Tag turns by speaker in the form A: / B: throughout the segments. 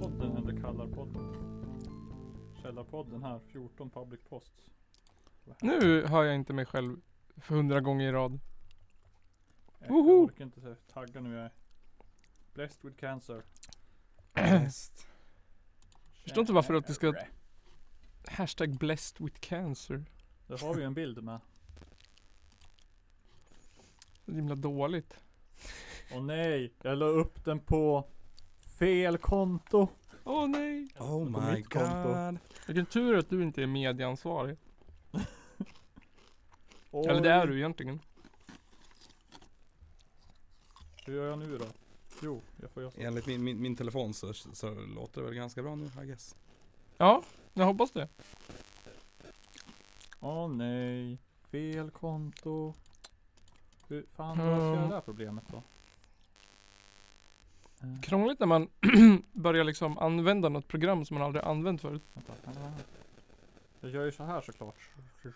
A: Podden heter Kallarpodden. Källarpodden här, 14 public posts.
B: Nu hör jag inte mig själv för hundra gånger i rad.
A: Jag
B: Woho!
A: orkar inte säga tagga nu jag är. Blessed with cancer.
B: Förstår inte varför att det ska- Hashtag blessed with cancer.
A: Där har vi ju en bild med.
B: Så himla dåligt.
A: Åh nej, jag la upp den på fel konto.
B: Åh nej!
C: Oh
A: På
C: my
A: mitt konto.
C: god.
B: Vilken tur att du inte är medieansvarig. Eller det är
A: Oj,
B: du egentligen.
A: Hur gör jag nu då? Jo, jag får göra så.
C: Enligt min, min, min telefon så, så låter det väl ganska bra nu, I guess.
B: Ja, jag hoppas det.
A: Åh nej, fel konto. Hur fan löser
B: Ja.
A: jag det här problemet då? Eh,
B: Krångligt när man börjar liksom använda något program som man aldrig använt förut.
A: vänta, kan det vara här? Jag gör ju så här såklart. Share,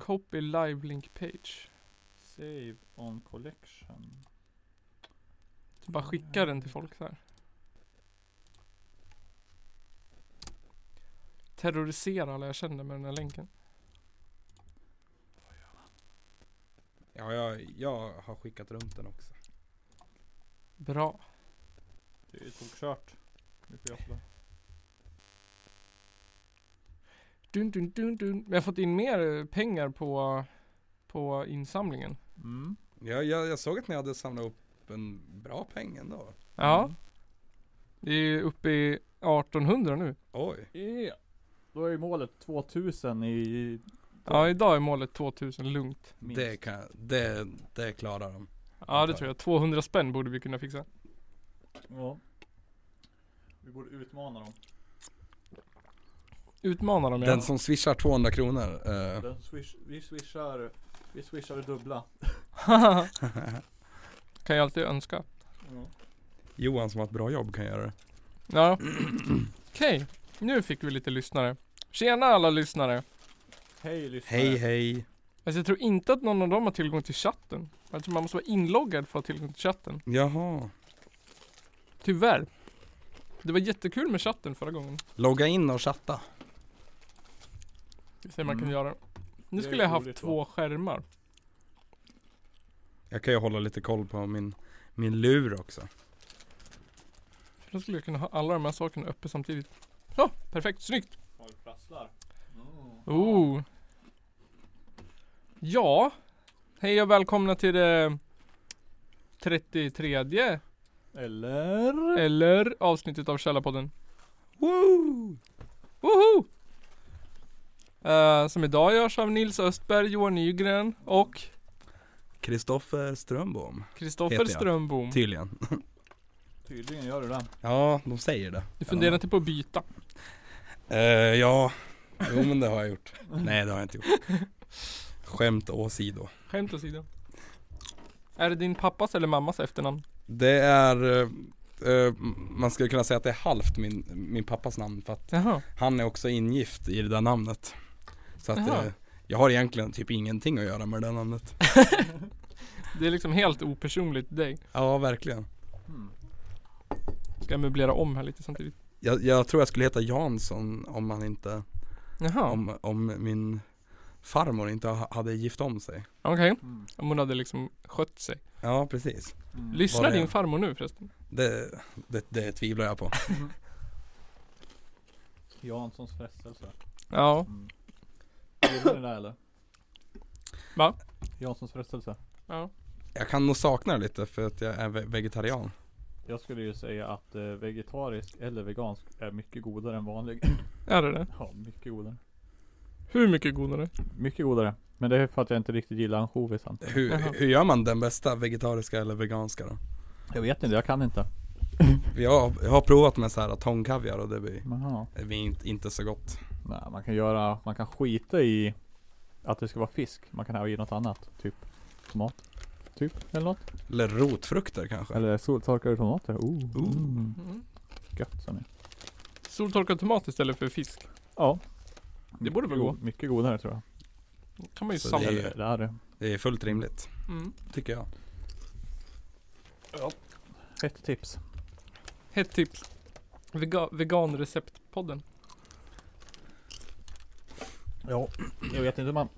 B: Copy live link page.
A: Save on collection.
B: Så bara skicka den till folk så här. Terrorisera alla jag känner med den här länken.
C: Ja, jag, jag har skickat runt den också.
B: Bra.
A: Det är ju tokkört. Nu får jag slå.
B: Dun, dun, dun, dun. Vi har fått in mer eh, pengar på, på insamlingen.
A: Mm.
C: Jag, jag, jag såg att ni hade samlat upp en bra peng ändå.
B: Ja.
A: Mm.
B: Det är ju uppe i 1800 nu.
C: Oj.
A: Ja. Då är ju målet 2000 i
B: Ja, idag är målet 2000 lugnt.
A: minst.
C: Det, kan, det, det klarar de.
B: Ja, det tror jag. 200 spänn borde vi kunna fixa.
A: Ja. Vi borde utmana dem.
B: Utmana dem ja.
C: Den som swishar 200 kronor. eh,
A: Den swish, vi swishar, vi swishar det dubbla.
B: kan jag alltid önska.
C: Johan som har ett bra jobb kan göra det.
B: Ja. Okej, nu fick vi lite lyssnare. Tjena alla lyssnare.
A: Hej lyssnare.
C: Hej hej.
B: Alltså jag tror inte att någon av dem har tillgång till chatten. Jag tror man måste vara inloggad för att ha tillgång till chatten.
C: Jaha.
B: Tyvärr. Det var jättekul med chatten förra gången.
C: Logga in och chatta.
B: Vi ser om man kan
A: Mm.
B: göra.
A: Det är
B: Nu skulle jag haft
A: roligt,
B: två
A: va?
B: skärmar.
C: Jag kan ju hålla lite koll på min, min lur också.
B: Då skulle jag kunna ha alla de här sakerna uppe samtidigt. Så, perfekt, snyggt!
A: Har du prasslar? Mm.
B: Oh. Ja, hej och välkomna till eh, det 33
A: Eller?
B: eller avsnittet av Källarpodden.
C: Woo!
B: Woho! Eh, som idag görs av Nils Östberg, Johan Nygren och
C: Kristoffer Strömbom.
B: Kristoffer
C: Heter jag.
B: Strömbom.
C: Tydligen.
A: Tydligen gör du det.
C: Ja, de säger det.
B: Du funderar inte på att byta?
C: Eh, ja, jo men det har jag gjort. Nej det har jag inte gjort. Skämt åsido.
B: Skämt åsido. Är det din pappas eller mammas efternamn?
C: Det är, eh, eh, man skulle kunna säga att det är halvt min, min pappas namn för att
B: Jaha.
C: han är också ingift i det där namnet. Så att
B: Jaha.
C: eh, jag har egentligen typ ingenting att göra med det där namnet.
B: Det är liksom helt opersonligt dig.
C: Ja, verkligen.
A: Mm.
B: Ska jag möblera om här lite samtidigt.
C: Jag, jag tror jag skulle heta Jansson om han inte,
B: Jaha.
C: om, om min farmor inte ha- hade gift om sig.
B: Okej.
A: Mm.
B: Om hon hade liksom skött sig.
C: Ja, precis.
A: Mm.
B: Lyssnar
C: Var det-
B: din farmor nu förresten?
C: Det, det, det tvivlar jag på.
A: Janssons frestelse.
B: Ja.
A: Mm. Gillar ni det där, eller?
B: Va?
A: Janssons frestelse.
B: Ja.
C: Jag kan nog sakna det lite för att jag är ve- vegetarian.
A: Jag skulle ju säga att eh, vegetarisk eller vegansk är mycket godare än vanlig.
B: Är det det?
A: ja, mycket godare.
B: Hur mycket godare?
A: Mycket godare. Men det är för att jag inte riktigt gillar ansjovisen.
C: Hur,
B: Jaha.
C: hur gör man den bästa vegetariska eller veganska då?
A: Jag vet inte, jag kan inte.
C: Jag, jag har provat med så här tångkaviar och det blir,
A: Jaha.
C: det blir inte, inte så gott.
A: Nej, man kan göra, man kan skita i att det ska vara fisk. Man kan ha i något annat. Typ tomat. Typ, eller något.
C: Eller rotfrukter kanske?
A: Eller soltorkade tomater. Oh.
C: Ooh.
A: Mm. Gött sa ni.
B: Soltorkad tomat istället för fisk.
A: Ja.
B: Det borde väl
A: Mycket go- Mycket godare tror jag.
B: kan man ju
C: Så
B: samla.
C: det är-
A: Eller är det?
C: Det är fullt rimligt,
B: Mm.
C: tycker jag.
A: Ett tips.
B: Hett tips. Vega, veganreceptpodden.
A: Ja, jag vet inte hur man...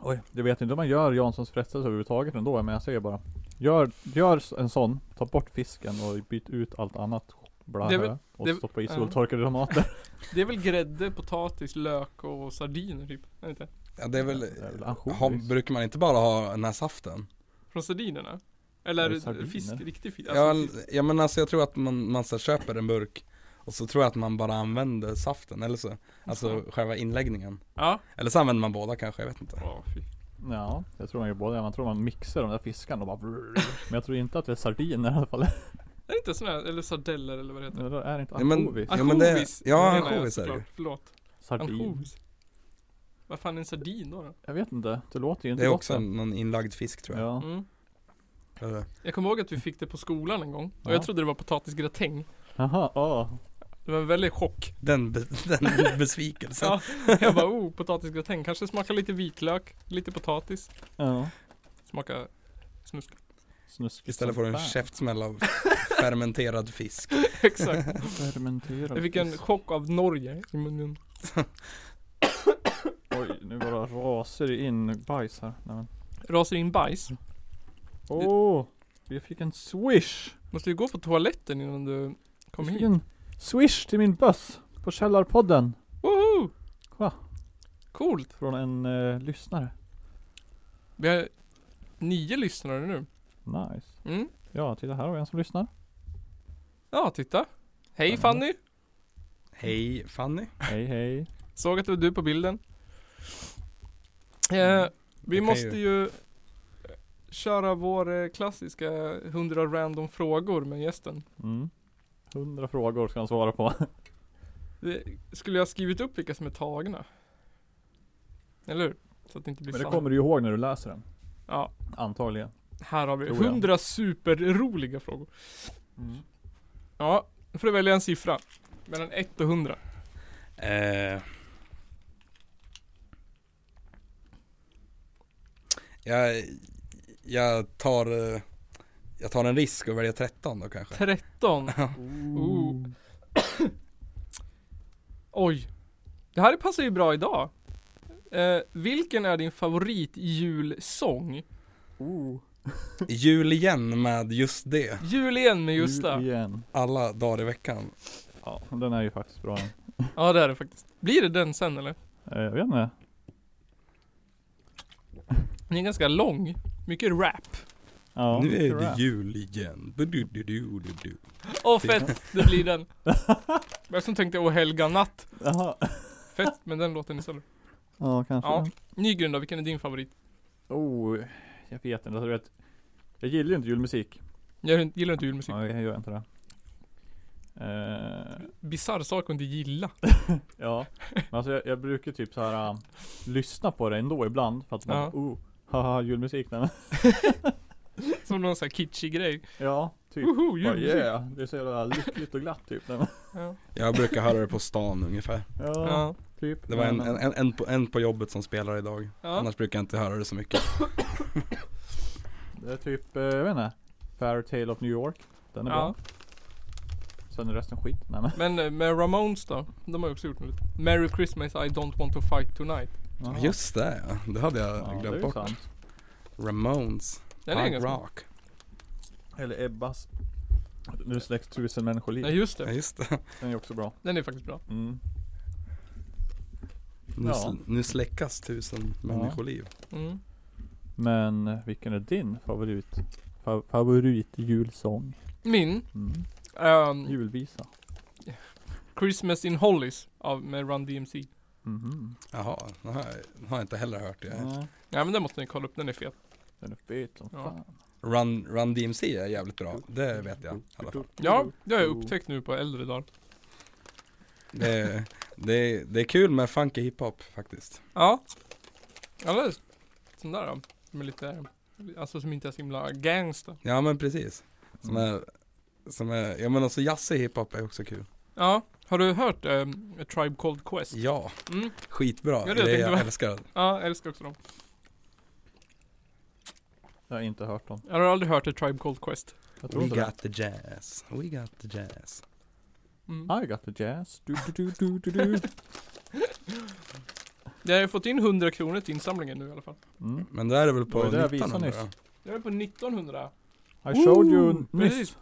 A: Oj, jag vet inte hur man gör Janssons frestelse överhuvudtaget ändå, men jag säger bara. Gör, gör en sån, ta bort fisken och byt ut allt annat
B: Det
A: blahä
B: är väl-
A: och
B: det är-
A: stoppa i
B: ja.
A: soltorkade tomater.
B: Det är väl grädde, potatis, lök och sardiner typ? Är det inte?
C: Ja, det är väl,
A: Det är väl
C: ha,
A: ansjovis.
C: brukar man inte bara ha den här saften?
B: Från sardinerna? Eller
A: Är det
B: är det
A: sardiner?
B: fisk, riktig fisk?
C: ja,
B: Alltså, fisk.
C: l- ja men alltså jag tror att man, man så köper en burk och så tror jag att man bara använder saften eller så, alltså
B: Jaha.
C: själva inläggningen.
B: ja.
C: Eller så använder man båda kanske, jag vet inte.
B: Åh, fy.
A: Ja, jag tror man gör båda. Man tror man mixar de där fiskarna och bara Men jag tror inte att det är sardiner i alla fall.
B: Är det inte sån här, eller sardeller eller vad det heter?
A: Eller är det inte
C: Ja, men-
A: ansjovis?
C: Ja, men det-
B: Ansjovis,
C: ja,
B: menar jag
C: ansjovis är det
B: såklart.
C: ju.
B: Förlåt.
A: Sardin?
B: Ansjovis. Vad fan är en sardin då? då?
A: Jag vet inte. Det låter ju inte
C: Det är
A: gott
C: också en, någon inlagd fisk tror jag.
A: Ja.
B: Mm.
C: Eller?
B: Jag kommer ihåg att vi fick det på skolan en gång. Och
A: Ja.
B: jag trodde det var potatisgratäng.
A: Jaha, ja.
B: Det var en väldig chock.
C: Den, be, den besvikelsen.
B: Ja, jag bara oh, potatisgratäng. Kanske smakar lite vitlök, lite potatis.
A: ja.
B: Smakar snusk.
A: Snuskigt som
C: Istället får du en
A: fan.
C: käftsmäll av fermenterad fisk.
B: Exakt.
A: Fermenterad
B: Jag fick en
A: fisk.
B: chock av Norge i munnen.
A: Oj, nu bara raser det in bajs här. Nej, men.
B: Rasar in bajs.
A: Åh! Jag fick en swish!
B: Måste ju gå på toaletten innan du
A: Jag
B: kommer
A: fick
B: hit.
A: en swish till min buss på Källarpodden.
B: Woho!
A: Va?
B: Coolt.
A: Från en eh, lyssnare.
B: Vi har nio lyssnare nu.
A: Nice.
B: Mm.
A: Ja, titta här har vi en som lyssnar.
B: Ja, titta. Hej
A: Spännande.
B: Fanny!
C: Hej Fanny.
A: Hej hej.
B: Såg att det var du på bilden. Eh,
C: Mm.
B: vi
C: kan
B: måste ju eh, köra vår eh, klassiska 100 random frågor med gästen.
A: Mm. Hundra frågor ska han svara på.
B: Det, skulle jag ha skrivit upp vilka som är tagna? Eller hur? Så att det inte blir
A: Men det
B: samma.
A: kommer du ju ihåg när du läser den.
B: Ja,
A: Antagligen.
B: här har vi
A: Tror jag.
B: 100 superroliga frågor. Ja, då får du välja en siffra. Mellan 1 och 100.
C: Eh, jag, jag tar eh, Jag tar en risk och väljer 13 då kanske.
B: 13.
A: Ooh.
B: Oj. Det här passar ju bra idag. Eh, vilken är din favoritjulsång?
A: Ooh.
C: Jul igen med just det.
B: Jul igen med Justa.
A: Nu igen.
C: Alla dagar i veckan.
A: Ja, den är ju faktiskt bra.
B: Ja det är det faktiskt. Blir det den sen eller?
A: Eh, Jag vet inte.
B: Den är ganska lång. Mycket rap.
A: Ja,
C: nu är
A: tror
C: det
A: jag.
C: jul igen. Du, du, du, du, du, du.
B: Åh fett, det blir den. Jag som tänkte Åh helga natt.
A: Jaha.
B: Fett, men den låten istället.
A: Ja, kanske.
B: Ja. Nygren då, vilken är din favorit?
A: Oh, jag vet inte. Alltså, du vet, jag gillar ju inte julmusik.
B: Jag gillar du inte julmusik.
A: Nej, jag gör inte det. Eh,
B: Bisarr sak att inte gilla.
A: ja, men alltså jag, jag brukar typ så här um, lyssna på det ändå ibland för att man,
B: Ja.
A: oh, haha julmusik nej men.
B: Som någon sån här kitschig grej.
A: Ja, typ.
B: Woho,
A: Bara,
B: julmusik.
A: yeah, det är så jävla lyckligt och glatt typ. Nej, men.
B: Ja.
C: Jag brukar höra det på stan ungefär.
A: ja,
B: Ja.
A: typ.
C: Det var
A: Nej,
C: en,
A: men-
C: en, en, en, på, en på jobbet som spelar idag.
B: Ja.
C: Annars brukar jag inte höra det så mycket.
A: Det är typ, eh, jag vet inte. Fair Tale of New York. Den är
B: ja.
A: bra. Sen är resten skit. Nej men.
B: Men eh, med Ramones då, de har ju också gjort något. Merry Christmas I don't want to fight tonight.
A: Jaha.
C: Just det ja. Det hade jag
A: ja, det är
C: glömt
A: ju
C: bort.
A: sant.
C: Ramones.
B: Den är
C: Punk
B: ganska bra.
C: rock.
A: Eller Ebbas. Nu släcks tusen människoliv.
B: Ja just
C: Ja
B: det,
C: just det.
A: Den är också bra.
B: den är faktiskt bra.
A: Mm.
C: Nu,
A: Ja.
C: sl- nu släckas tusen
A: Ja.
C: människoliv.
B: Mm.
A: Men eh, vilken är din favorit? Fa- favoritjulsång?
B: Min,
A: Mm.
B: ehm,
A: Julvisa?
B: Christmas in Hollies av, med Run DMC.
A: Mhm.
C: Jaha, den har, jag- den har jag inte heller hört. Jag.
A: Ja.
B: Ja men den måste ni kolla upp, den är fet.
A: Den är fet som
B: Ja.
A: fan.
C: Run, Run DMC är jävligt bra, det vet jag i alla fall.
B: Ja, det har jag upptäckt nu på äldre dagar.
C: Det, är- det, är- det är kul med funky hiphop faktiskt.
B: Ja. Eller sån där då. Som är lite, alltså som inte är så himla gangsta.
A: Mm.
C: Ja men precis. Som alltså är, som är jag menar så jazzig hiphop är också kul.
B: Ja, Har du hört ehm, A Tribe Called Quest?
C: Ja,
B: Mm.
C: skitbra.
B: Ja, det
C: det
B: tänkte
C: jag
B: jag.
C: älskar den.
B: Ja, jag älskar också dem.
A: Jag har inte hört dem.
B: Jag har aldrig hört A Tribe Called Quest.
A: Jag tror
C: We
A: inte det.
C: got the jazz. We got the jazz.
B: Mm.
A: I got the jazz. Du, du, du, du, du, du.
B: Jag har ju fått in 100 kronor till insamlingen nu i alla fall.
A: Mm.
C: Men där är väl
A: Det
C: på
A: var det jag visade
C: 1900?
A: nyss.
B: Jag är på 1900.
A: I showed you
B: Ooh,
A: nyss.
B: precis.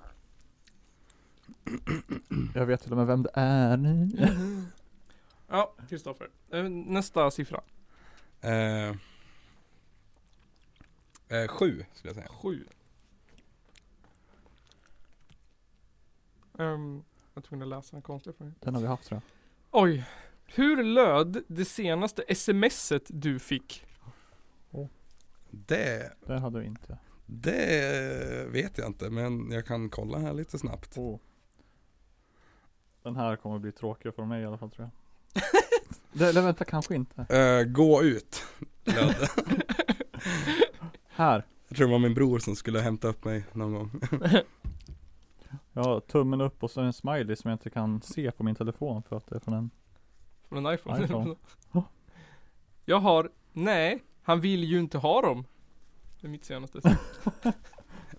A: Jag vet till och med vem det är.
B: Ja, Kristoffer. Eh, Nästa siffra.
C: Eh, eh, sju, skulle jag säga.
B: Sju. Um, jag var tvungen att läsa en konstig fråga.
A: Den har vi haft tror
B: Oj. Hur löd det senaste smset du fick?
C: Det,
A: jag. Den hade vi inte.
C: det vet jag inte, men jag kan kolla här lite snabbt.
A: Oh. Den här kommer bli tråkig för mig i alla fall tror jag. det, eller vänta, kanske inte.
C: Eh, gå ut, löd det.
A: Här.
C: Jag tror det var min bror som skulle hämta upp mig någon gång.
A: Jag har tummen upp och så en smiley som jag inte kan se på min telefon för att det är från en
B: Från en iPhone?
A: iPhone.
B: jag har, nej, han vill ju inte ha dem. Det är mitt senaste.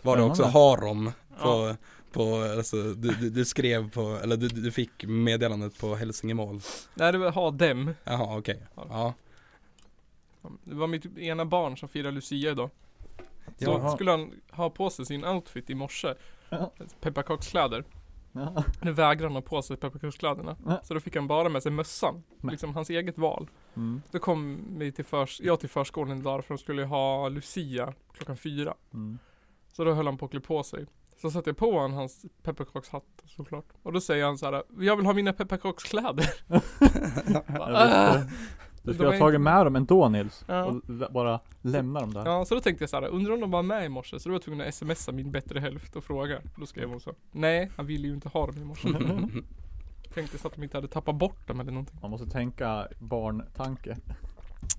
C: Var det också
A: Spännande.
C: harom? På,
B: Ja.
C: på, alltså, du, du, du skrev på, eller du, du fick meddelandet på Hälsingemål.
B: Nej, det var ha dem.
C: Jaha, okej. Ja.
B: Det var mitt ena barn som firade Lucia idag. Så
A: Jaha.
B: skulle han ha på sig sin outfit i morse.
A: Ja.
B: Pepparkakskläder.
A: Ja.
B: Nu vägrar han ha på sig pepparkakskläderna.
A: Ja.
B: Så då fick han bara med sig mössan.
A: Nej.
B: Liksom hans eget val.
A: Mm.
B: Då kom vi till förs- jag till förskolan idag för de skulle ha Lucia klockan fyra.
A: Mm.
B: Så då höll han på att klä på sig. Så satte jag på honom hans pepparkakshatt såklart. Och då säger han så här: jag vill ha mina pepparkakskläder.
A: Jag
B: Bara, "Ah!"
A: visste. Du skulle
B: var
A: ha
B: inte-
A: tagit med dem ändå Nils.
B: Ja.
A: Och lä- bara lämna dem där.
B: Ja, så då tänkte jag så här: undrar om de var med i morse? Så då var jag tvungen att smsa min bättre hälft och fråga. Då skrev hon så. Nej, han ville ju inte ha dem i morse. tänkte så att de inte hade tappat bort dem eller någonting.
A: Man måste tänka barntanke.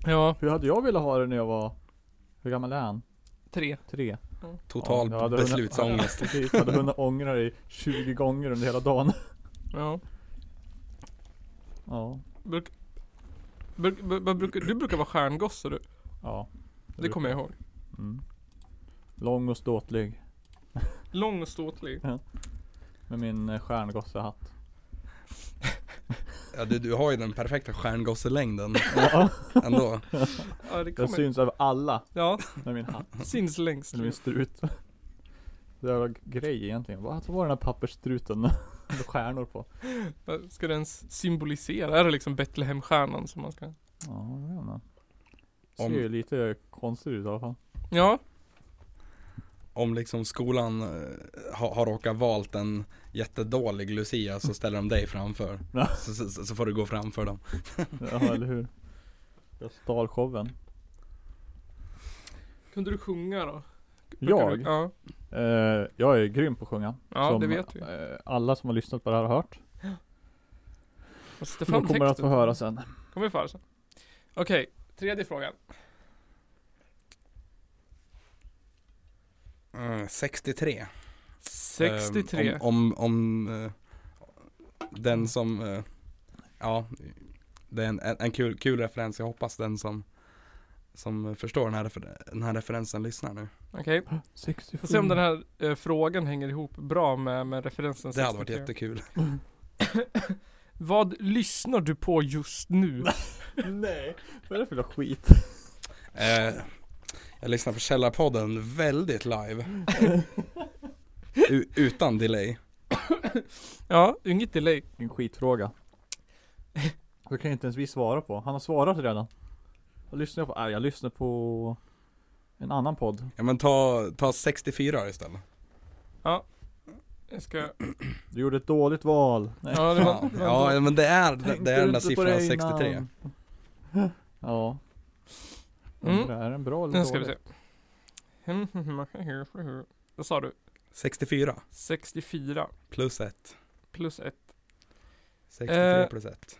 B: Ja,
A: Hur hade jag velat ha det när jag var, hur gammal är han?
B: tre.
A: Tre?
C: Total
A: Ja, jag hade hunnit-
C: beslutsångest.
A: Ja, precis. Jag hade hunnit ångra dig 20 gånger under hela dagen.
B: Ja.
A: Ja.
B: Bruk, bruk, bruk, vad brukar- du brukar vara stjärngosse du.
A: Ja.
B: Det kommer jag ihåg.
A: Mm. Lång och ståtlig.
B: Lång och ståtlig.
A: Med min eh, stjärngossehatt.
C: Ja, du, du har ju den perfekta stjärngosselängden
A: Ja.
C: ändå.
B: Ja, det
A: Jag
B: kommer.
A: syns över alla
B: Ja,
A: med min hatt.
B: syns längst.
A: Eller min strut. Det var grej egentligen. Vad vad var den här pappersstruten med stjärnor på?
B: Vad Ska den ens symbolisera? Är det liksom Betlehemstjärnan som man ska...
A: Ja, jag vet inte. Ser
C: Om-
A: ju lite konstigt ut i alla fall.
B: Ja,
C: Om liksom skolan eh, har, har råkat valt en jättedålig Lucia så ställer de dig framför.
A: Ja.
C: Så, så, så får du gå framför dem.
A: Ja, eller hur? Jag stal showen.
B: kunde du sjunga då? Brukar
A: Jag?
B: Du, ja,
A: Eh, jag är grym på att sjunga.
B: ja
A: som,
B: det vet vi.
A: eh, alla som har lyssnat på det här har hört.
B: Fast det
A: De kommer att få höra sen.
B: Kommer vi få höra sen. Okej, tredje frågan.
C: Mm, 63.
A: Ehm,
B: 63.
C: Eh, om, om, om eh, den som, eh, ja, det är en, en, en kul, kul referens. Jag hoppas den som, som förstår den här, refer- den här referensen lyssnar nu.
B: Okej,
A: 67.
B: får se om den här eh, frågan hänger ihop bra med, med referensen
C: Det hade varit
B: 63.
C: jättekul.
B: Vad lyssnar du på just nu?
A: Nej, vad är det för jävla skit?
C: Eh, jag lyssnar på Källarpodden väldigt live. U- utan delay.
B: ja, inget delay.
A: En skitfråga. Det kan ju inte ens vi svara på. Han har svarat redan. Vad lyssnar jag på? Äh, jag lyssnar på en annan podd.
C: Ja men ta, ta 64 istället.
B: Jag ska...
A: Du gjorde ett dåligt val. Nej.
B: Ja, det var...
C: Fan. Ja men det är, det,
A: tänkte
C: det är den där
A: inte på
C: siffran
A: det
C: 63.
A: innan. Ja.
B: Mm.
A: Undrar, Är den bra eller
B: Nu ska vi
A: dålig?
B: se. Vad sa du?
C: 64
B: 64
C: plus 1.
B: plus 1.
C: 63
B: Eh.
C: plus 1.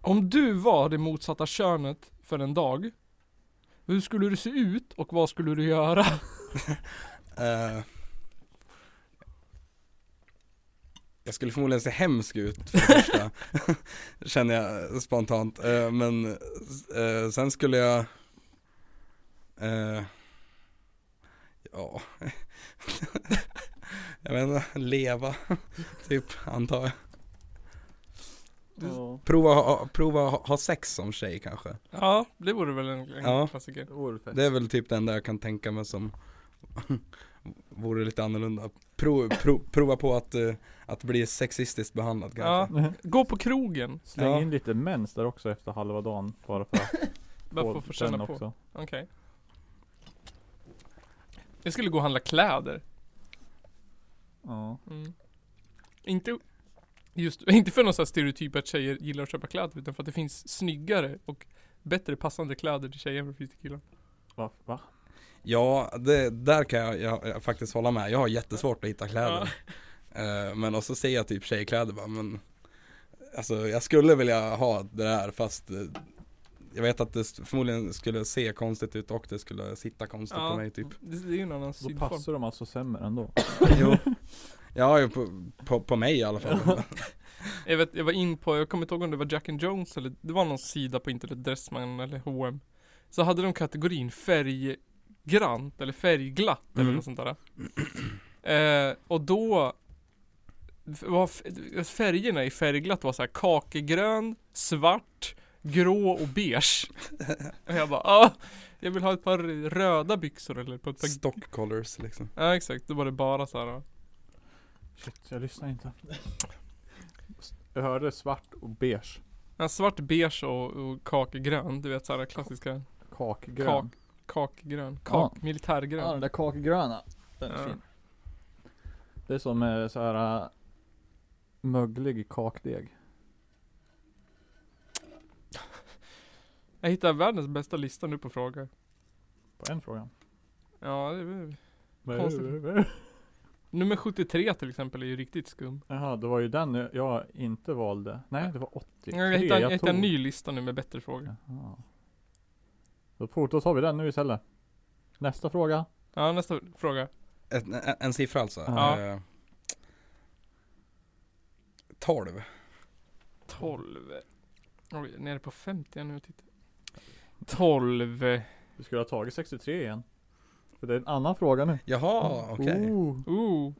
B: Om du var det motsatta könet för en dag, hur skulle du se ut och vad skulle du göra?
C: Eh, Jag skulle förmodligen se hemsk ut för det första, känner jag spontant. Eh, Men eh, sen skulle jag... eh, Ja... jag vet inte, leva, typ, antar jag.
A: Ja.
C: Prova, ha- prova ha ha sex som tjej kanske.
B: Ja, det vore väl en, en
C: Ja.
B: klassiker.
A: Det vore fett.
C: Det är väl typ det enda jag kan tänka mig som vore lite annorlunda. Pro, pro, prova på att, eh, att bli sexistiskt behandlad
B: Ja.
C: kanske.
B: Gå på krogen,
A: Släng
C: Ja.
A: in lite mens där också efter halva dagen. Bara för att
B: bara för att få känna
A: den
B: på. Okej. Jag skulle gå och handla kläder.
A: Ja.
B: Mm. Inte, just, inte för någon sån här stereotyp att tjejer gillar att köpa kläder utan för att det finns snyggare och bättre passande kläder till tjejer än vad det finns till killar.
A: Va? Va?
C: Ja, det, där kan jag, jag, jag faktiskt hålla med. Jag har jättesvårt att hitta
B: Ja.
C: kläder. Eh, Men också ser jag typ tjejkläder bara, men Alltså jag skulle vilja ha det där fast eh, Jag vet att det s- förmodligen skulle se konstigt ut och det skulle sitta konstigt
B: Ja.
C: på mig typ.
B: Det, det är ju en annan
A: Då
B: sidform.
A: passar de alltså sämre ändå.
C: Jo. Ja, ju på, på, på mig i alla fall.
B: Jag, vet, jag var in på, jag kommer inte ihåg om det var Jack and Jones eller det var någon sida på internet, Dressman eller H&M Så hade de kategorin färggrant eller färgglatt eller
C: Mm.
B: något sånt där eh, Och då f- var f- färgerna i färgglatt var så här kakegrön, svart, grå och beige Och jag bara ah, jag vill ha ett par röda byxor eller på ett par
C: Stock colors liksom.
B: Ja exakt, då var det bara så här. ah.
A: Shit, jag lyssnar inte. Jag hörde svart och beige.
B: Ja, svart, beige och, och kakegrön, du vet såhär klassiska
A: Kakgrön.
B: Kak- Kakgrön.
A: Ja.
B: Kak, militärgrön.
A: Ja, den där kakgröna. Den är
B: Ja.
A: fin. Det är som eh, så här äh, möglig kakdeg.
B: Jag hittar världens bästa lista nu på frågor.
A: På en fråga.
B: Ja, det är...
A: Konstigt.
B: Nummer 73 till exempel är ju riktigt skum.
A: Jaha, det var ju den jag inte valde. Nej, det var 83
B: Jag hittar, jag hittar en ny lista nu med bättre frågor.
A: Jaha. Då fort, då tar vi den nu istället. Nästa fråga.
B: Ja, nästa fråga.
C: Ett, en, en siffra alltså.
B: Ja.
C: Eh, 12.
B: 12. Oj, nere på 50 nu och tittar. 12.
A: Du skulle ha tagit 63 igen. För det är en annan fråga nu.
C: Jaha, okej.
A: Oh.
B: Ooh.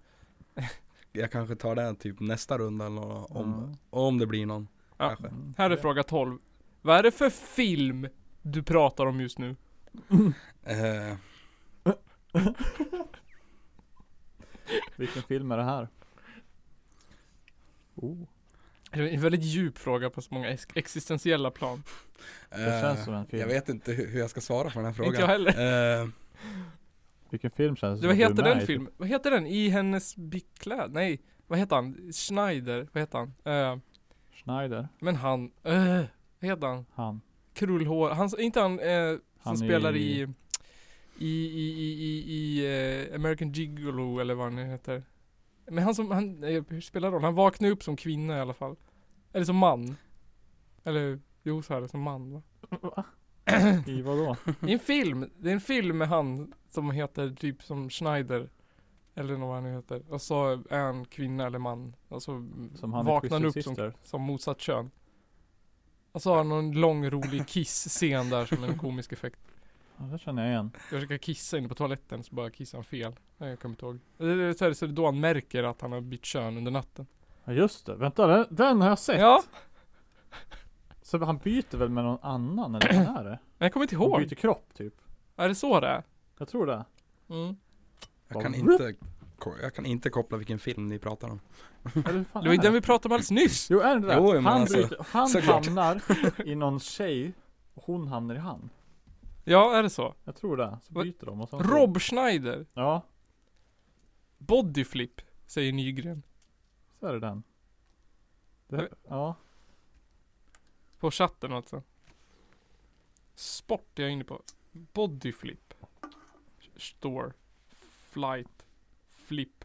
C: Jag kanske tar det här typ nästa runda eller nå- om,
A: Mm.
C: om det blir någon.
B: Ja.
C: Kanske.
A: Mm.
B: Här är fråga 12. Vad är det för film du pratar om just nu?
C: Eh,
A: Vilken film är det här? Oh.
B: Det är en väldigt djup fråga på så många ex- existentiella plan.
A: Det
C: eh,
A: känns som en film.
C: jag vet inte hur, hur jag ska svara på den här frågan.
B: Inte jag heller.
C: Eh,
A: Vilken film känns
B: Det,
A: det
B: Alltså,
A: som du är med
B: vad heter den
A: i?
B: filmen? Vad heter den? I hennes bikläd? Nej, vad heter han? Schneider? Vad heter han? Eh,
A: Schneider.
B: men han, eh, vad heter han?
A: Han.
B: Krullhår, han, inte han, eh, som
A: Han
B: spelar
A: i-
B: i i, i, i, i, i eh, American Gigolo eller vad han nu heter. Men han som, han, eh, hur spelar roll? Han vaknar upp som kvinna i alla fall. Eller som man. Eller, jo så här, som man va?
A: I vadå?
B: Det är en film, det är en film med han som heter typ som Schneider Eller något vad han nu heter och så är han kvinna eller man och så
A: Som han
B: vaknar
A: i
B: han upp
A: Twisted
B: som,
A: Sister.
B: som motsatt kön Och så har han någon lång rolig kiss-scen där som en komisk effekt
A: Ja, det känner jag igen.
B: Jag ska kissa inne på toaletten så bara kissar han fel Nej jag kommer inte ihåg Det är så här- så det är då han märker att han har bytt kön under natten
A: Ja just det. Vänta, den, den har jag sett.
B: Ja,
A: Så han byter väl med någon annan eller vad är det?
B: men jag kommer inte
A: Han
B: ihåg
A: byter kropp typ.
B: Är det så det är?
A: Jag tror det.
B: Mm.
C: jag, kan inte, ko- jag kan inte koppla vilken film ni pratar om.
A: Eller hur fan
B: Det var ju
A: är
B: den vi pratade om alldeles nyss!
A: Jo är det det?
C: Jo, men
A: han
C: alltså,
A: byter, han
C: såklart.
A: hamnar i någon tjej och hon hamnar i han.
B: Ja, är det så?
A: Jag tror det. Så
B: Vad-
A: byter de och sen så-
B: Rob Schneider
A: Ja,
B: Bodyflip, säger Nygren.
A: så är det den. Det, ja.
B: På chatten alltså. Sport är jag inne på. Bodyflip. Store. Flight. Flip.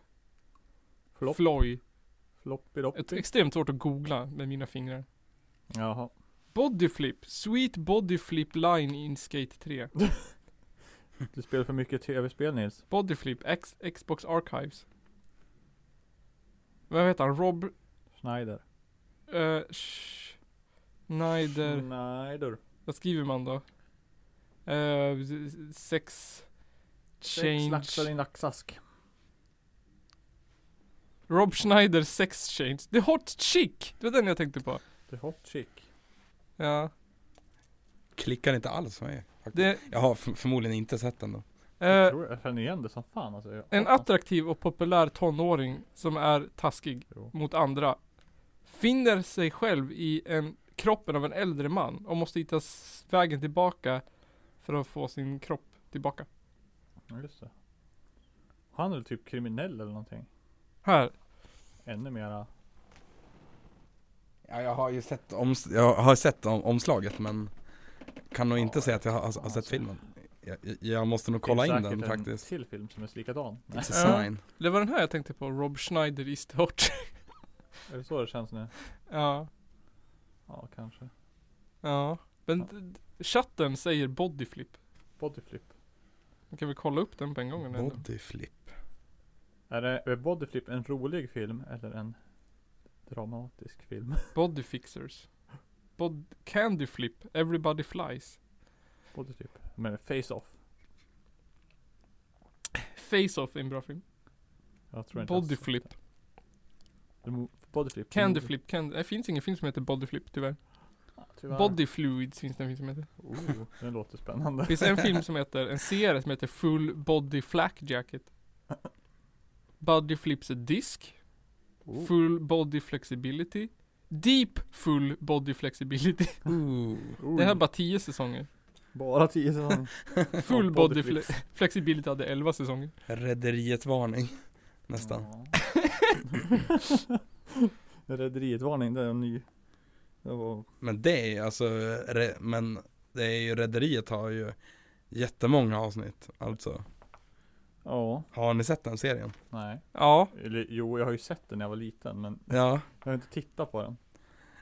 A: Flopp,
B: Floy. Ett
A: floppy-doppy.
B: extremt svårt att googla med mina fingrar.
A: Jaha.
B: Bodyflip. Sweet bodyflip line in skate 3.
A: Du spelar för mycket tv-spel Nils.
B: Bodyflip. X- Xbox Archives. Vad heter han? Rob...
A: Schneider.
B: Eh, Sch- Schneider...
A: Mm. Schneider.
B: Vad skriver man då? Eh, sex...
A: Sex
B: Change...
A: laxar i en laxask.
B: Rob Schneider sex change. The Hot Chick! Det var den jag tänkte på.
A: The hot chick.
B: Eh. Ja.
C: Klickar inte alls för mig. faktiskt.
B: Det,
C: Jag har f- förmodligen inte sett den då.
A: Jag,
B: eh,
A: tror, jag känner igen det som fan alltså. Jag-
B: en attraktiv och populär tonåring som är taskig
A: Jo.
B: mot andra. Finner sig själv i en, kroppen av en äldre man och måste hitta s- vägen tillbaka för att få sin kropp tillbaka.
A: Ja, Just det. Han är väl typ kriminell eller någonting.
B: Här.
A: Ännu mera.
C: Ja, jag har ju sett, oms- jag har sett om- omslaget men kan nog inte
A: Ja,
C: säga att jag har, har
A: fan,
C: sett
A: alltså.
C: filmen. Jag, jag måste nog kolla in
A: Finns
C: den
A: säkert en
C: faktiskt.
A: till film som är likadan. Nej,
C: It's a sign.
B: Det var den här jag tänkte på. Rob Schneider is the hot.
A: är det så det känns nu?
B: ja.
A: Ja, kanske.
B: Ja. Men d- d- chatten säger bodyflip.
A: Bodyflip.
B: Kan vi kolla upp den på en gång? eller?
C: Bodyflip.
A: Är, det, är Bodyflip en rolig film eller en dramatisk film?
B: Body fixers. Bod candy flip. Everybody flies.
A: Bodyflip. Men Face-Off.
B: Face-off är en bra film.
A: Jag tror inte ens-
B: Body flip.
A: Det mo- Bodyflip.
B: Candy flip. Candy. Det finns ingen film som heter body flip tyvärr.
A: Ja, tyvärr.
B: Body fluids finns det en film som heter.
A: Oh, den låter
B: Det
A: spännande.
B: finns en film som heter, en serie som heter Full Body Flak Jacket. Body flips a disc.
A: Oh.
B: Full body flexibility. Deep full body flexibility.
C: Ooh.
A: Oh.
B: Det här är bara 10 säsonger.
A: Bara tio säsonger.
B: Full
A: Ja,
B: body
A: bodyflip.
B: fle- flexibility hade 11 säsonger.
C: Rederiet varning. Nästan.
A: Ja. Rederiet-varning, det är en ny. Det var
C: Men det är alltså, re, men det är ju Rederiet har ju jättemånga avsnitt. Alltså,
A: Ja,
C: har ni sett den serien?
A: nej.
B: Ja.
A: Eller jo, jag har ju sett den när jag var liten men
C: Ja.
A: jag har inte tittat på den.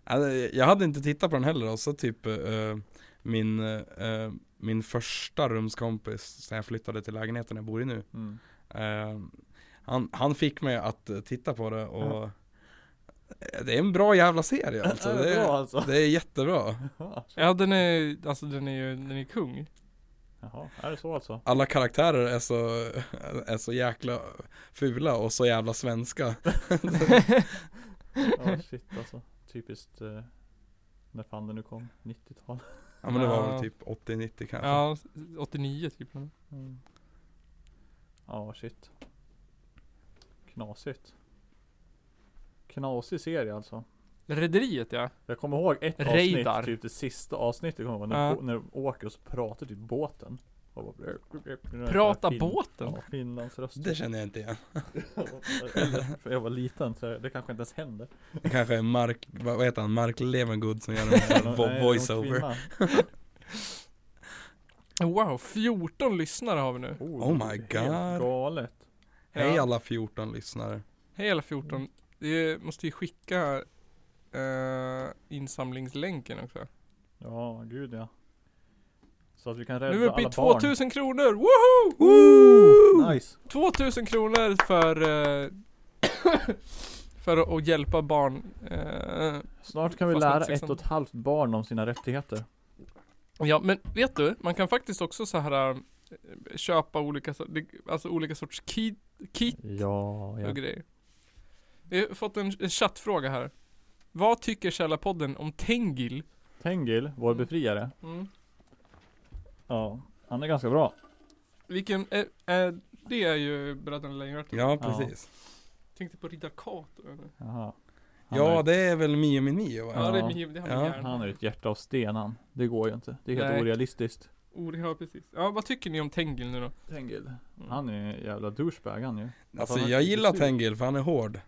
C: Alltså, jag hade inte tittat på den heller och så typ eh, min, eh, min första rumskompis sen jag flyttade till lägenheten jag bor i nu.
A: Mm.
C: Eh, han, han fick mig att eh, titta på det och
A: Ja.
C: Eh, Det är en bra jävla serie alltså.
A: är det bra alltså?
C: det är jättebra.
B: Ja den är, alltså den är ju, den är kung.
A: Jaha, är det så alltså?
C: Alla karaktärer är så, är så jäkla fula och så jävla svenska.
A: Ja shit alltså. Typiskt eh, när fan det nu kom, 90-tal.
C: Ja men det var
B: Ja.
C: väl typ 80-90 kanske.
B: Ja, 89 typ.
A: Mm. Ja shit. Knasigt. Knasig serie alltså.
B: Rederiet ja.
A: Jag kommer ihåg ett
B: Radar.
A: avsnitt, typ det sista avsnittet kommer jag ihåg, när,
B: Ja.
A: ja. när Åkers pratar typ båten. Och bara-
B: Prata
A: Fin-
B: båten.
A: Ja, Finlands röst.
C: Det känner jag inte igen.
A: För jag var liten så det kanske inte ens händer.
C: Det kanske är Mark, vad vad heter han, Mark Levengood som gör en sån här vo-
A: Nej,
C: voiceover.
A: någon
B: Wow, 14 lyssnare har vi nu.
A: kvinna.
C: Oh
A: det är
C: my
A: helt
C: God.
A: Galet.
C: Hej
B: Ja.
C: alla 14 lyssnare.
B: Hej alla 14. Vi måste ju skicka eh, insamlingslänken också.
A: Ja, gud ja. Så att vi kan rädda
B: Nu är vi uppe i
A: alla barn.
B: 2000 kronor! Woho!
A: Nice.
B: 2000 kronor för eh, för att- att hjälpa barn. Eh,
A: Snart kan vi
B: Fast
A: lära
B: inte
A: ett
B: sexan.
A: och ett halvt barn om sina rättigheter.
B: ja, men vet du? Man kan faktiskt också så här eh, köpa olika, so- det- alltså olika sorts kit, kit
A: Ja,
B: och grejer. Vi har fått en, en chattfråga här. Vad tycker Källarpodden om Tengil?
A: Tengil, vår befriare.
B: Mm.
A: Ja, han är ganska bra.
B: Vilken, eh, eh, det är ju Bröderna Lejonhjärta.
C: Ja precis.
B: Tänkte på Riddar Kato. eller?
A: Jaha. Han
C: Ja,
A: är-
C: det är väl Mio min Mio va?
B: Ja, det är
A: Ja.
B: min, det är han
C: Ja,
B: med hjärnan.
A: Han är ett hjärta av sten han. Det går ju inte. Det är helt
B: Nej.
A: orealistiskt.
B: Oh, ja, precis. Ja, vad tycker ni om Tengil nu då?
A: Tengil.
B: Mm.
A: Han är en jävla douchebag han ju.
C: Alltså
A: Han har
C: jag
A: lite
C: gillar
A: sur.
C: Tengil för han är hård.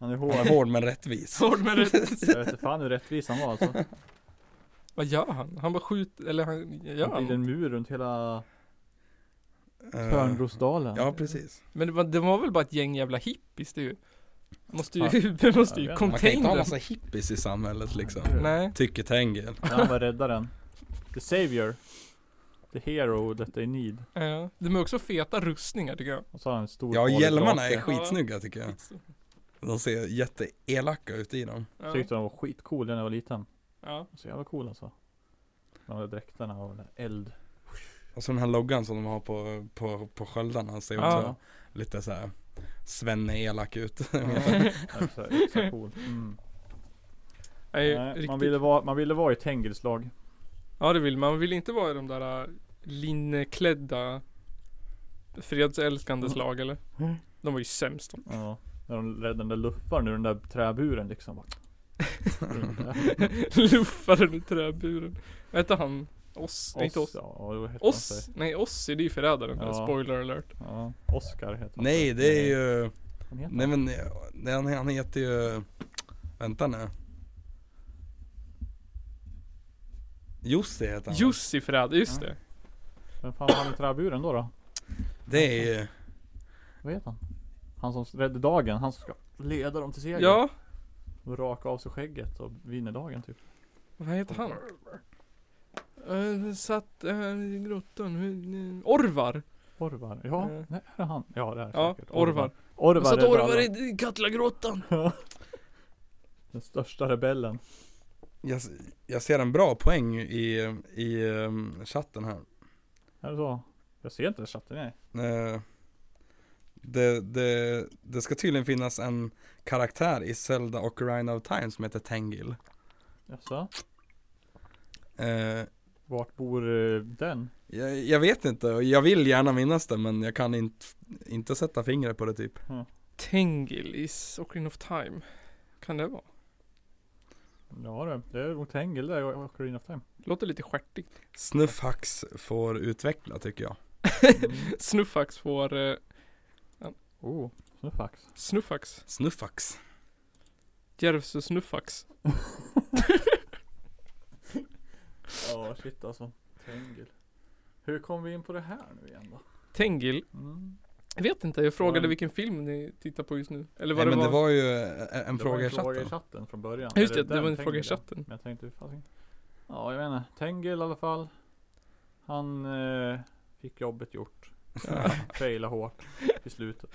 A: Han är
C: Han
A: hård.
C: är hård men rättvis.
B: Hård med det.
A: Jag vet inte fan hur rättvis han var alltså.
B: Vad gör han? Han bara skjuter, eller han, gör
A: Han
B: han?
A: byggde
B: något?
A: en mur runt hela
C: Eh,
A: Törnrosdalen.
C: Ja precis.
B: Men det var, det var väl bara ett gäng jävla hippies det ju. Måste ju,
A: Fan.
B: det måste
A: Jag vet
B: ju
A: inte.
C: Man kan inte
B: contain
C: ha
B: den.
C: massa hippies i samhället liksom.
B: Nej.
C: Tycker Tengil.
A: När han var räddaren. The savior. The hero that they need.
B: Ja. De är också feta rustningar tycker jag.
A: Och så har han en stor
C: Ja
A: farlig
C: hjälmarna
A: drake.
C: är skitsnygga tycker jag. De ser jätteelaka ut i dem.
A: Jag
B: Ja.
A: tyckte de var skitcool när jag var liten.
B: Ja.
A: Så jävla cool alltså. De där dräkterna och den där eld.
C: Och så den här loggan som de har på, på, på sköldarna ser
B: Ja.
C: också lite så här svenne-elak ut.
A: Extra, extra cool. Mm.
B: Nej,
A: Nej, man,
B: riktigt-
A: ville vara, man ville vara i Tengils lag.
B: Ja det vill man. Man vill inte vara i de där äh, linneklädda fredsälskandes lag eller? De var ju sämst de.
A: Ja. När de räddade den där luffaren ur den där träburen liksom. Bara.
B: Luffaren i träburen. Vad hette han? Oss? Nej inte
A: Oss,
B: oss.
A: ja, vad hette han
B: Oss?
A: sig?
B: Nej Ossi det är ju förrädaren.
A: Ja.
B: Spoiler alert.
A: Ja, Oscar heter han.
C: Nej det är ju,
A: Han heter
C: nej men nej, han, han heter ju, vänta nu. Jussi heter han.
B: Jussi förrädare, just det.
A: Vem fan var han i träburen då då?
C: Det är ju,
A: Vad heter han? Han som räddade dagen, han som ska leda dem till seger.
B: Ja.
A: Och raka av sig skägget och vinner dagen typ.
B: Vad heter han? Eh, satt här i grottan. Eh, Orvar!
A: Orvar, ja,
B: Eh.
A: nej, är det han? Ja det är det
B: Ja,
A: säkert.
B: Orvar.
A: Orvar,
B: Han satt
A: är
B: Orvar
A: rebellen.
B: i i Katlagrottan.
A: Den största rebellen.
C: jag, jag ser en bra poäng i, i um, chatten här.
A: Är det så? Jag ser inte chatten, nej.
C: Eh, det, det, det ska tydligen finnas en karaktär i Zelda Ocarina of Time som heter Tengil.
A: Jaså?
C: Eh,
A: Vart bor eh, den?
C: jag, jag vet inte, och jag vill gärna minnas det men jag kan inte, inte sätta fingret på det typ.
B: Tengil i Ocarina of Time. Kan det vara?
A: Ja du, det är nog Tengil där i Ocarina of Time.
B: Låter lite stjärtigt.
C: Snuffhax får utveckla tycker jag.
A: Mm.
B: Snuffax får... Eh,
A: oh, snuffax.
B: snuffax.
C: Snuffhax.
B: Järvsö snuffax.
A: Ja shit alltså. Tengil. Hur kom vi in på det här nu igen då?
B: Tengil.
A: Mm.
B: Jag vet inte, jag frågade
A: Ja.
B: vilken film ni tittar på just nu. Eller
C: Nej
B: vad
C: men
B: det
C: det
B: var.
C: var ju eh, en, en
A: Det var
C: fråga i
A: en fråga i
C: chatten.
A: chatten från början.
B: Just
A: Är
B: det, det
A: den
B: var en fråga i
A: Tengil då?
B: chatten.
A: Men jag tänkte, hur fasen. Ja, jag menar. Tengil i alla fall. Han eh, fick jobbet gjort. Faila hårt i slutet.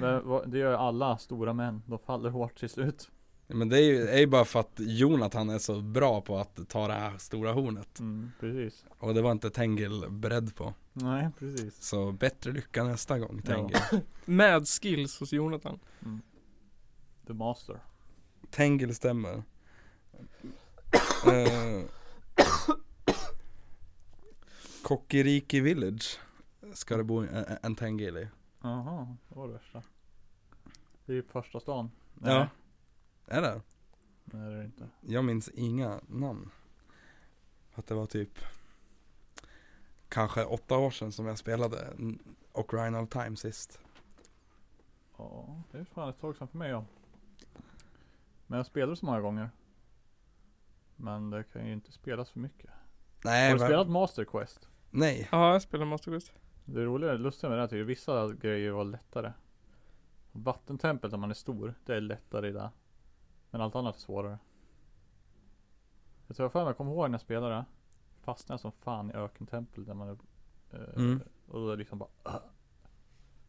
A: Men vad- det gör ju alla stora män. De faller hårt till slut.
C: Men det är ju, är ju bara för att Jonathan är så bra på att ta det här stora hornet.
A: Mm, precis.
C: Och det var inte Tengil beredd på.
A: Nej, precis.
C: Så bättre lycka nästa gång Tengil.
B: Mad skills hos Jonathan.
A: The master.
C: Tengil stämmer. Eh, Kokiriki Village ska det bo en, en Tengil i.
A: Jaha, det var det värsta. Det är ju första stan.
C: Ja. Är det?
A: Nej, det är det inte.
C: Jag minns inga namn. Att det var typ kanske åtta år sedan som jag spelade Ocarina of Time sist.
A: Ja, det är fan ett tag sedan för mig ja. Men jag spelade så många gånger. Men det kan ju inte spelas för mycket.
C: Nej,
A: Har du
C: va-
A: spelat Master Quest?
C: Nej.
B: Ja, jag spelar Master Quest.
A: Det roliga, lustiga med det här tycker jag, vissa grejer var lättare. Vattentemplet om man är stor, det är lättare i det. Men allt annat är svårare. Jag tror för mig, jag kommer ihåg när jag spelade. Fastnade som fan i ökentempel när man är, eh,
C: Mm.
A: Och då är det liksom bara "Åh,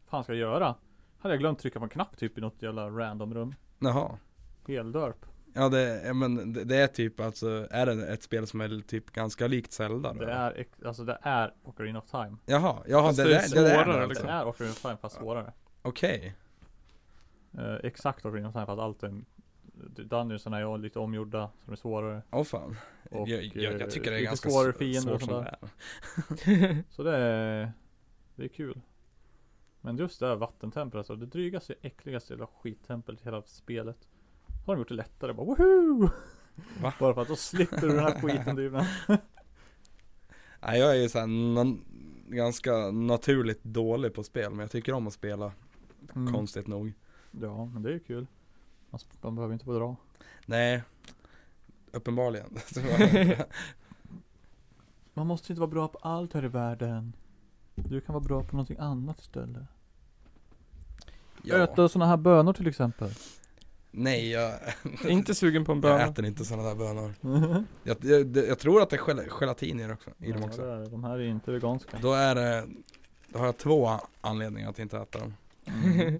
A: fan ska jag göra? Hade jag glömt trycka på en knapp typ i något jävla random rum.
C: Jaha.
A: Heldörp.
C: Ja det, ja, men det, det är typ alltså, är det ett spel som är typ ganska likt Zelda då?
A: Det är, ex- alltså det är Ocarina of Time.
C: Jaha, jaha
B: Fast
C: det,
B: det är
C: det, det, det är
B: svårare,
C: det
A: Det
C: alltså.
B: liksom.
A: är Ocarina of Time fast svårare.
C: Okej.
A: Eh, exakt Ocarina of Time fast allt är Dungeonsarna är lite omgjorda som är svårare.
C: Åh fan.
A: Och,
C: jag, jag,
A: eh,
C: jag tycker det är
A: lite
C: ganska
A: svårare
C: svå-
A: fiender
C: svårt
A: och
C: som
A: sånt
C: det är.
A: Så det är, det är kul. Men just det här vattentemplet alltså. Det drygaste, äckligaste jävla skittemplet i hela spelet. Har de gjort det lättare bara woho!
C: Va?
A: Bara för att då slipper du den här skiten typ. drivna.
C: Nej jag är ju såhär na- ganska naturligt dålig på spel men jag tycker om att spela konstigt nog.
A: Mm. Ja men det är ju kul. Man, sp- man behöver inte få dra.
C: Nej. Uppenbarligen. Så var det.
A: Man måste inte vara bra på allt här i världen. Du kan vara bra på någonting annat istället.
C: ja.
A: Äta sådana här bönor till exempel.
C: Nej jag,
B: Jag är inte sugen på en
C: jag
B: böna.
C: äter inte sådana där bönor. Jag, jag, det- jag tror att det är gel- gelatin i, det också, i dem
A: Ja,
C: också.
A: det är det. de här är inte veganska.
C: Då är det, då har jag två anledningar att inte äta dem.
A: Mm.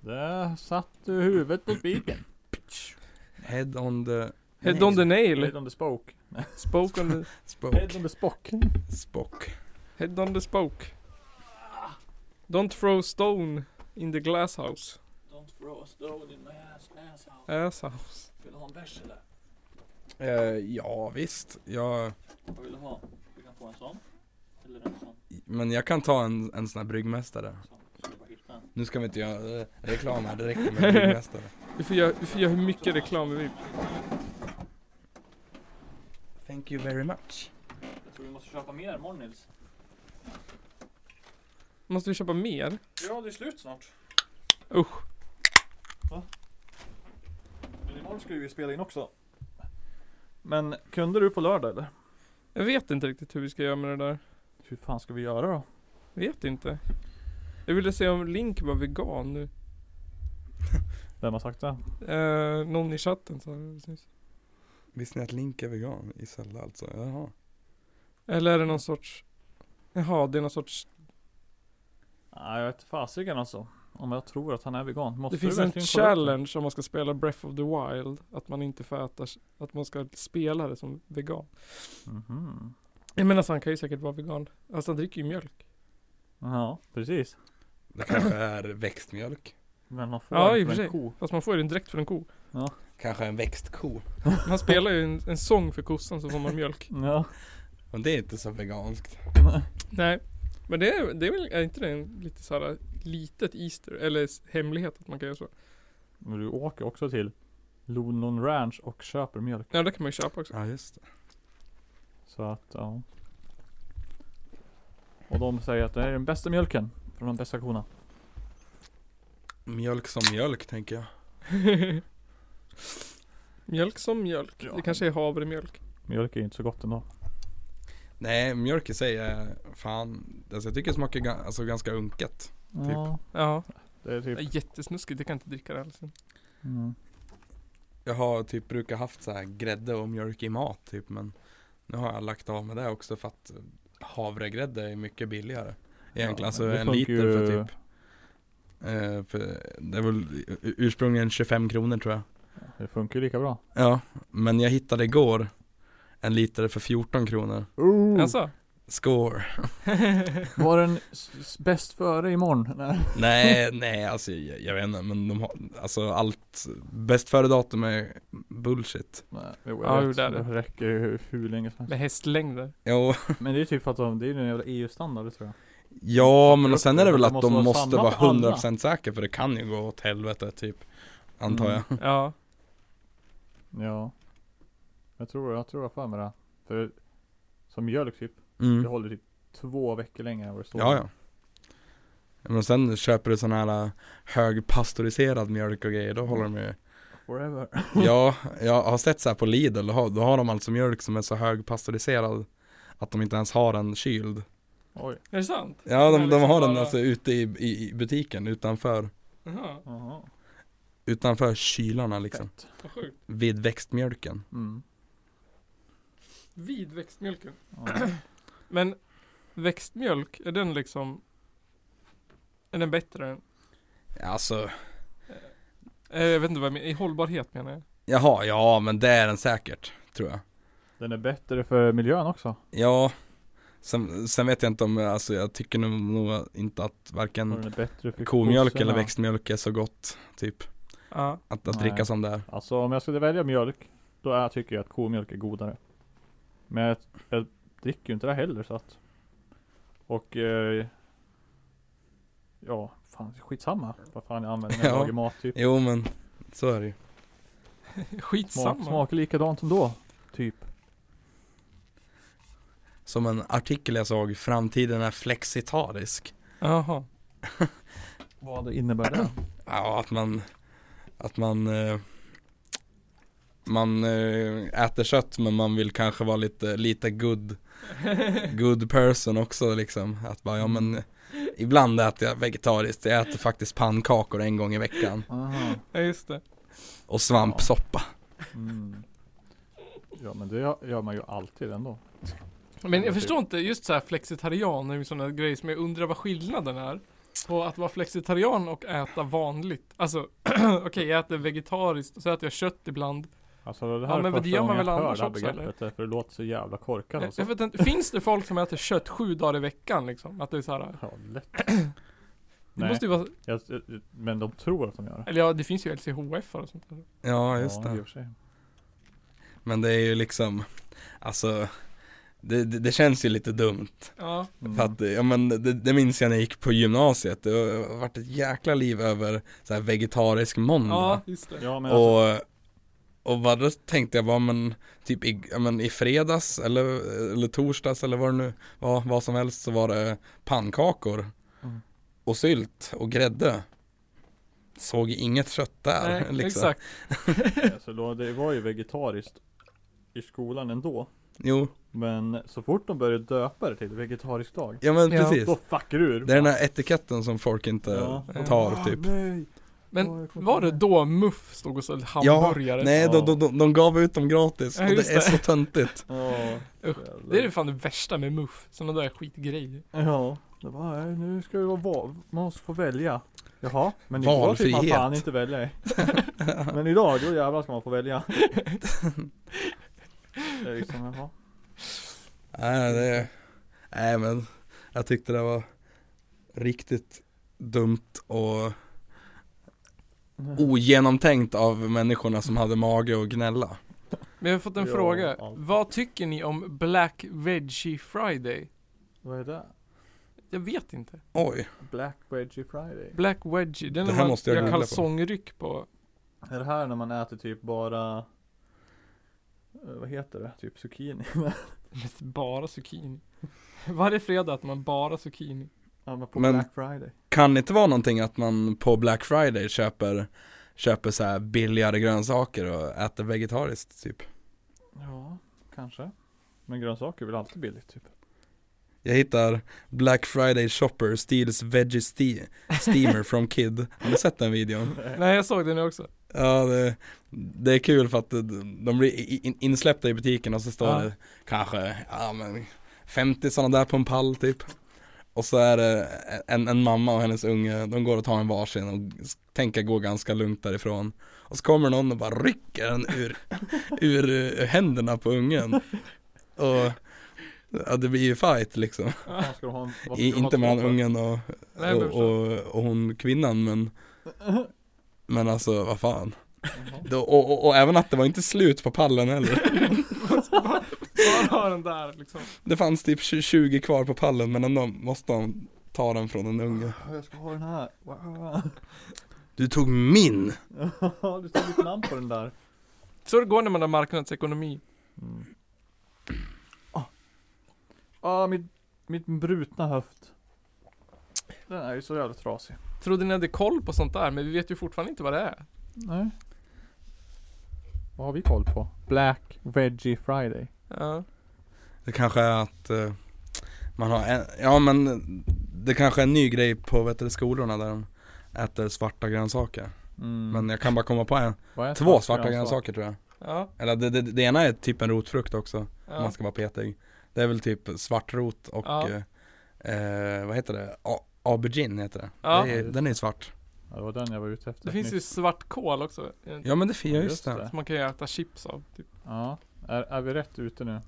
A: Där satt du huvudet på spiken.
C: Head on the
B: Head on the
A: Head
B: nail.
A: on the spoke.
B: Spoke on the...
C: spoke.
A: Head on the spock.
C: Spock.
B: Head on the spoke. Don't throw stone in the glass house.
A: Don't throw a stone in my ass, asshole.
B: Ass house.
A: Vill du ha en bärs eller?
C: Eh, ja visst, jag,
A: Vad vill du ha? Du kan få en sån. Eller en sån.
C: men jag kan ta en, en sån här bryggmästare.
A: sån. Så du bara hittar en.
C: Nu ska vi inte göra eh, reklam här, det räcker med bryggmästare.
B: Vi får göra, vi får göra hur mycket reklam vi vill.
C: Thank you very much.
A: Jag tror vi måste köpa mer imorgon Nils.
B: Måste vi köpa mer?
A: Ja, det är slut snart.
B: Usch.
A: Men imorgon ska vi ju spela in också. Men kunde du på lördag eller?
B: Jag vet inte riktigt hur vi ska göra med det där.
A: Hur fan ska vi göra då?
B: Vet inte. Jag ville se om Link var vegan nu.
A: Vem har sagt det?
B: Eh, någon i chatten sa det precis.
C: Visste ni att Link är vegan i Zelda alltså? Jaha.
B: Eller är det någon sorts... Jaha, det är någon sorts...
A: Nej, jag vet fasiken alltså. Om jag tror att han är vegan. Måste
B: det finns
A: du
B: en
A: verkligen kolla upp det?
B: challenge om man ska spela Breath of the Wild. Att man inte får äta... Att man ska spela det som vegan.
A: Mhm.
B: Jag menar, så han kan ju säkert vara vegan. Alltså han dricker ju mjölk.
A: Ja, precis.
C: Det kanske är växtmjölk.
A: Men man får
B: Ja,
A: den
B: i och
A: från
B: för
A: en
B: sig.
A: ko.
B: Fast man får ju den direkt från en ko.
C: Kanske en växtko.
B: Han spelar ju en, en sång för kossan så får man mjölk.
A: Ja.
C: Men det är inte så veganskt.
B: Nej. Men det är, det är väl, är inte det en lite så här litet Easter, eller s- hemlighet att man kan göra så?
A: Men du åker också till London Ranch och köper mjölk.
B: Ja det kan man ju köpa också.
C: Ja just det.
A: Så att, ja. Och de säger att det här är den bästa mjölken från de bästa korna.
C: Mjölk som mjölk tänker jag.
B: mjölk som mjölk.
A: Ja.
B: Det kanske är havremjölk.
A: Mjölk är ju inte så gott ändå.
C: Nej, mjölk i sig är fan, alltså jag tycker det smakar ga- alltså, ganska unket.
A: Ja,
B: Ja.
A: Typ. det är
B: Det
A: typ.
B: är jättesnuskigt, jag kan inte dricka liksom. det alls.
A: Mm.
C: Jag har typ brukar haft så här grädde och mjölk i mat typ men nu har jag lagt av med det också för att havregrädde är mycket billigare. Egentligen,
A: Ja,
C: alltså
A: det
C: en
A: funkar
C: liter
A: ju-
C: för typ eh, för det var ursprungligen 25 kronor tror jag.
A: Det funkar ju lika bra.
C: Ja, men jag hittade igår en liter för 14 kronor.
A: Mm.
B: Alltså?
C: Score.
A: Var den s- s- bäst före imorgon? Nej.
C: nej, nej alltså jag, jag vet inte men de har, alltså allt, bäst före datum är bullshit.
A: Nej, jo,
B: Ja,
A: jag
B: jo,
A: vet.
B: det är
A: det
B: det.
A: räcker ju hur, hur länge som helst.
B: Med hästlängder.
C: Jo,
A: Men det är typ för att de, det är ju den jävla EU-standard det tror jag.
C: ja men och sen är det väl
A: Det
C: att
A: måste
C: de
A: vara
C: måste
A: samma
C: vara
A: för alla.
C: 100% säkra för det kan ju gå åt helvete typ. Antar
A: Mm.
C: jag.
B: Ja.
A: Ja. Jag tror, jag tror jag har för mig det. För som mjölk typ, det
C: Mm.
A: håller typ två veckor längre än vad det står.
C: Ja, ja. Men sen köper du sån här högpastoriserad mjölk och grejer, då håller de ju
A: Forever.
C: Ja, jag har sett så här på Lidl, då har, då har de alltså mjölk som är så högpastöriserad att de inte ens har den kyld.
A: Oj.
B: Är det sant?
C: Ja,
B: Den är
C: de, de
B: liksom
C: har den
B: bara-
C: alltså ute i, i, i butiken utanför,
B: Jaha,
A: Jaha.
C: utanför kylarna liksom.
A: Fett.
B: vad sjukt.
C: Vid växtmjölken.
A: Mm.
B: Vid växtmjölken.
A: Ja.
B: Men växtmjölk, är den liksom... Är den bättre än...
C: Alltså,
B: eh, Jag vet inte vad jag menar, i hållbarhet menar jag.
C: jaha, ja men det är den säkert, tror jag.
A: Den är bättre för miljön också.
C: Ja, sen, sen vet jag inte om, alltså jag tycker nog, nog inte att
A: Och
C: varken
A: den är bättre för
C: komjölk
A: kossorna.
C: eller växtmjölk är så gott, typ.
B: Ja.
C: Att, att
A: Nej.
C: dricka som det är.
A: Alltså om jag skulle välja mjölk, då är, tycker jag att komjölk är godare. Men jag, jag dricker ju inte det heller så att. Och eh, ja, fan skitsamma. Vad fan jag använder när jag
C: Ja.
A: lagar mat typ.
C: Jo men, så är det ju.
B: Skitsamma.
A: Smak, smakar likadant ändå. Typ.
C: Som en artikel jag såg, framtiden är flexitarisk.
B: Jaha.
A: Vad innebär det?
C: Ja, att man Att man eh, Man eh, äter kött men man vill kanske vara lite, lite good Good person också liksom Att bara, ja men eh, Ibland äter jag vegetariskt, jag äter faktiskt pannkakor en gång i veckan
A: Aha.
B: Ja just det.
C: Och svampsoppa
A: Mm. Ja men det gör man ju alltid ändå.
B: Men jag förstår inte, just så här flexitarian är ju sådana grejer som jag undrar vad skillnaden är. på att vara flexitarian och äta vanligt. Alltså, okej jag äter vegetariskt och så äter jag kött ibland.
A: Alltså det
B: Ja,
A: här
B: men
A: är
B: det
A: första
B: gör man
A: gången jag
B: väl
A: hör
B: annars
A: det här
B: också, eller? Eh,
A: begreppet. eh, För det låter så jävla korkat
B: Jag,
A: alltså.
B: jag vet inte, finns det folk som äter kött sju dagar i veckan liksom? Att det är så här,
A: Ja, lätt.
B: det
A: Nej,
B: måste ju vara,
A: jag, eh, men de tror att de gör det.
B: eller ja det finns ju LCHF och sånt där.
C: Ja, just
A: i
C: det.
A: och för sig.
C: Men det är ju liksom, alltså, det, det, det känns ju lite dumt.
B: Ja,
A: Mm.
C: För att, ja men det, det minns jag när jag gick på gymnasiet, det har varit ett jäkla liv över så här vegetarisk
B: ja
C: måndag.
B: just det.
A: Ja, men alltså,
C: och, och vad då tänkte jag, bara, men typ i, ja, men i fredags eller, eller torsdags eller vad det nu var, vad som helst så var det pannkakor
A: Mm.
C: och sylt och grädde. Såg inget kött där
B: Nej,
C: liksom.
B: exakt.
A: alltså, då, det var ju vegetariskt i skolan ändå.
C: Jo,
A: Men så fort de började döpa det till vegetarisk dag.
C: ja men
B: Ja.
C: precis.
A: Då fuckar du ur.
C: Det är den här etiketten som folk inte
A: Ja.
C: tar typ.
A: nej. Ja,
B: Men
A: jag kommer
B: var det
A: ihåg
B: då Muff stod och sålde hamburgare?
C: Nej, de,
A: Ja.
C: de, de, de gav ut dem gratis
B: Ja,
C: och
B: just
C: det är
B: det.
C: så töntigt.
A: Ja,
B: Usch,
A: jävlar.
B: Det är ju fan det värsta med Muff, sådana där skitgrejer.
A: Ja, det var, nej, nu ska vi vara val, man måste få välja. Jaha, men idag fick man
C: Valfrihet.
A: fan inte välja. men idag, då jävlar ska man få välja. Det är liksom, jaha.
C: Nej, det, nej men jag tyckte det var riktigt dumt och Oh. ogenomtänkt av människorna som hade mage att gnälla.
B: Men jag har fått en
A: Ja,
B: fråga.
A: allt.
B: Vad tycker ni om Black Veggie Friday?
A: Vad är det?
B: Jag vet inte.
C: Oj,
A: Black Veggie Friday?
B: Black Wedgie, den
C: Det
B: är
C: här
B: man
C: måste jag
B: gör
C: googla på.
B: kalsongryck på.
A: Är det här när man äter typ bara eh, vad heter det? Typ zucchini?
B: Med bara zucchini. Varje fredag äter man bara zucchini.
A: ja, men på
C: Men-
A: Black Friday.
C: kan det inte vara någonting att man på Black Friday köper, köper så här billigare grönsaker och äter vegetariskt typ?
A: Ja, kanske. Men grönsaker är väl alltid billigt typ.
C: Jag hittar Black Friday shopper steals veggie ste- steamer from kid. Har ni sett den videon?
B: Nej jag såg det nu också.
C: Ja, det, det är kul för att de blir i- in- insläppta i butiken och så står
B: Ja.
C: det kanske, ja men 50 sådana där på en pall typ. Och så är det en, en mamma och hennes unge, de går och tar en varsin och s- tänker gå ganska lugnt därifrån. Och så kommer någon och bara rycker den ur, ur, eh, händerna på ungen. Och ja, det blir ju fight liksom.
A: Vad fan ska du ha en, vad ska
C: I,
A: du ha
C: inte
A: två
C: mellan
A: för?
C: ungen och,
B: Nej,
C: och,
B: men förstå.
C: och, och hon kvinnan men Men alltså vad fan
A: Jaha.
C: Då- och, och, och även att det var inte slut på pallen heller
B: Bara ha den där liksom.
C: Det fanns typ 20 kvar på pallen men ändå måste de ta den från en unge
A: Jag ska ha den här. Wow.
C: Du tog min!
A: Ja, du stod ditt namn på den där.
B: Så det går när man har marknadsekonomi.
A: Mm. Ah. Ah, mitt, mitt brutna höft. Den är ju så jävla trasig.
B: Trodde ni hade koll på sånt där, men vi vet ju fortfarande inte vad det är.
A: Nej. Vad har vi koll på? Black Veggie Friday.
B: Ja.
C: Det kanske är att eh, man har en, ja men det kanske är en ny grej på vet du, skolorna där de äter svarta grönsaker
A: Mm.
C: Men jag kan bara komma på en,
A: Vad är
C: två svarta grönsaker tror jag
B: Ja.
C: Eller det, det, det ena är typ en rotfrukt också om
B: ja.
C: man ska vara petig. Det är väl typ svartrot och
B: Ja.
C: eh, eh, vad heter det? A- aubergine heter det.
B: Ja.
C: det är, den är svart.
A: Ja, det var den jag var ute efter.
B: Det finns ju
A: nyss.
B: svartkål också. är det inte?
C: Ja men det är ja, just det.
B: Som man kan ju äta chips av. Typ.
A: Ja. Är, är vi rätt ute nu?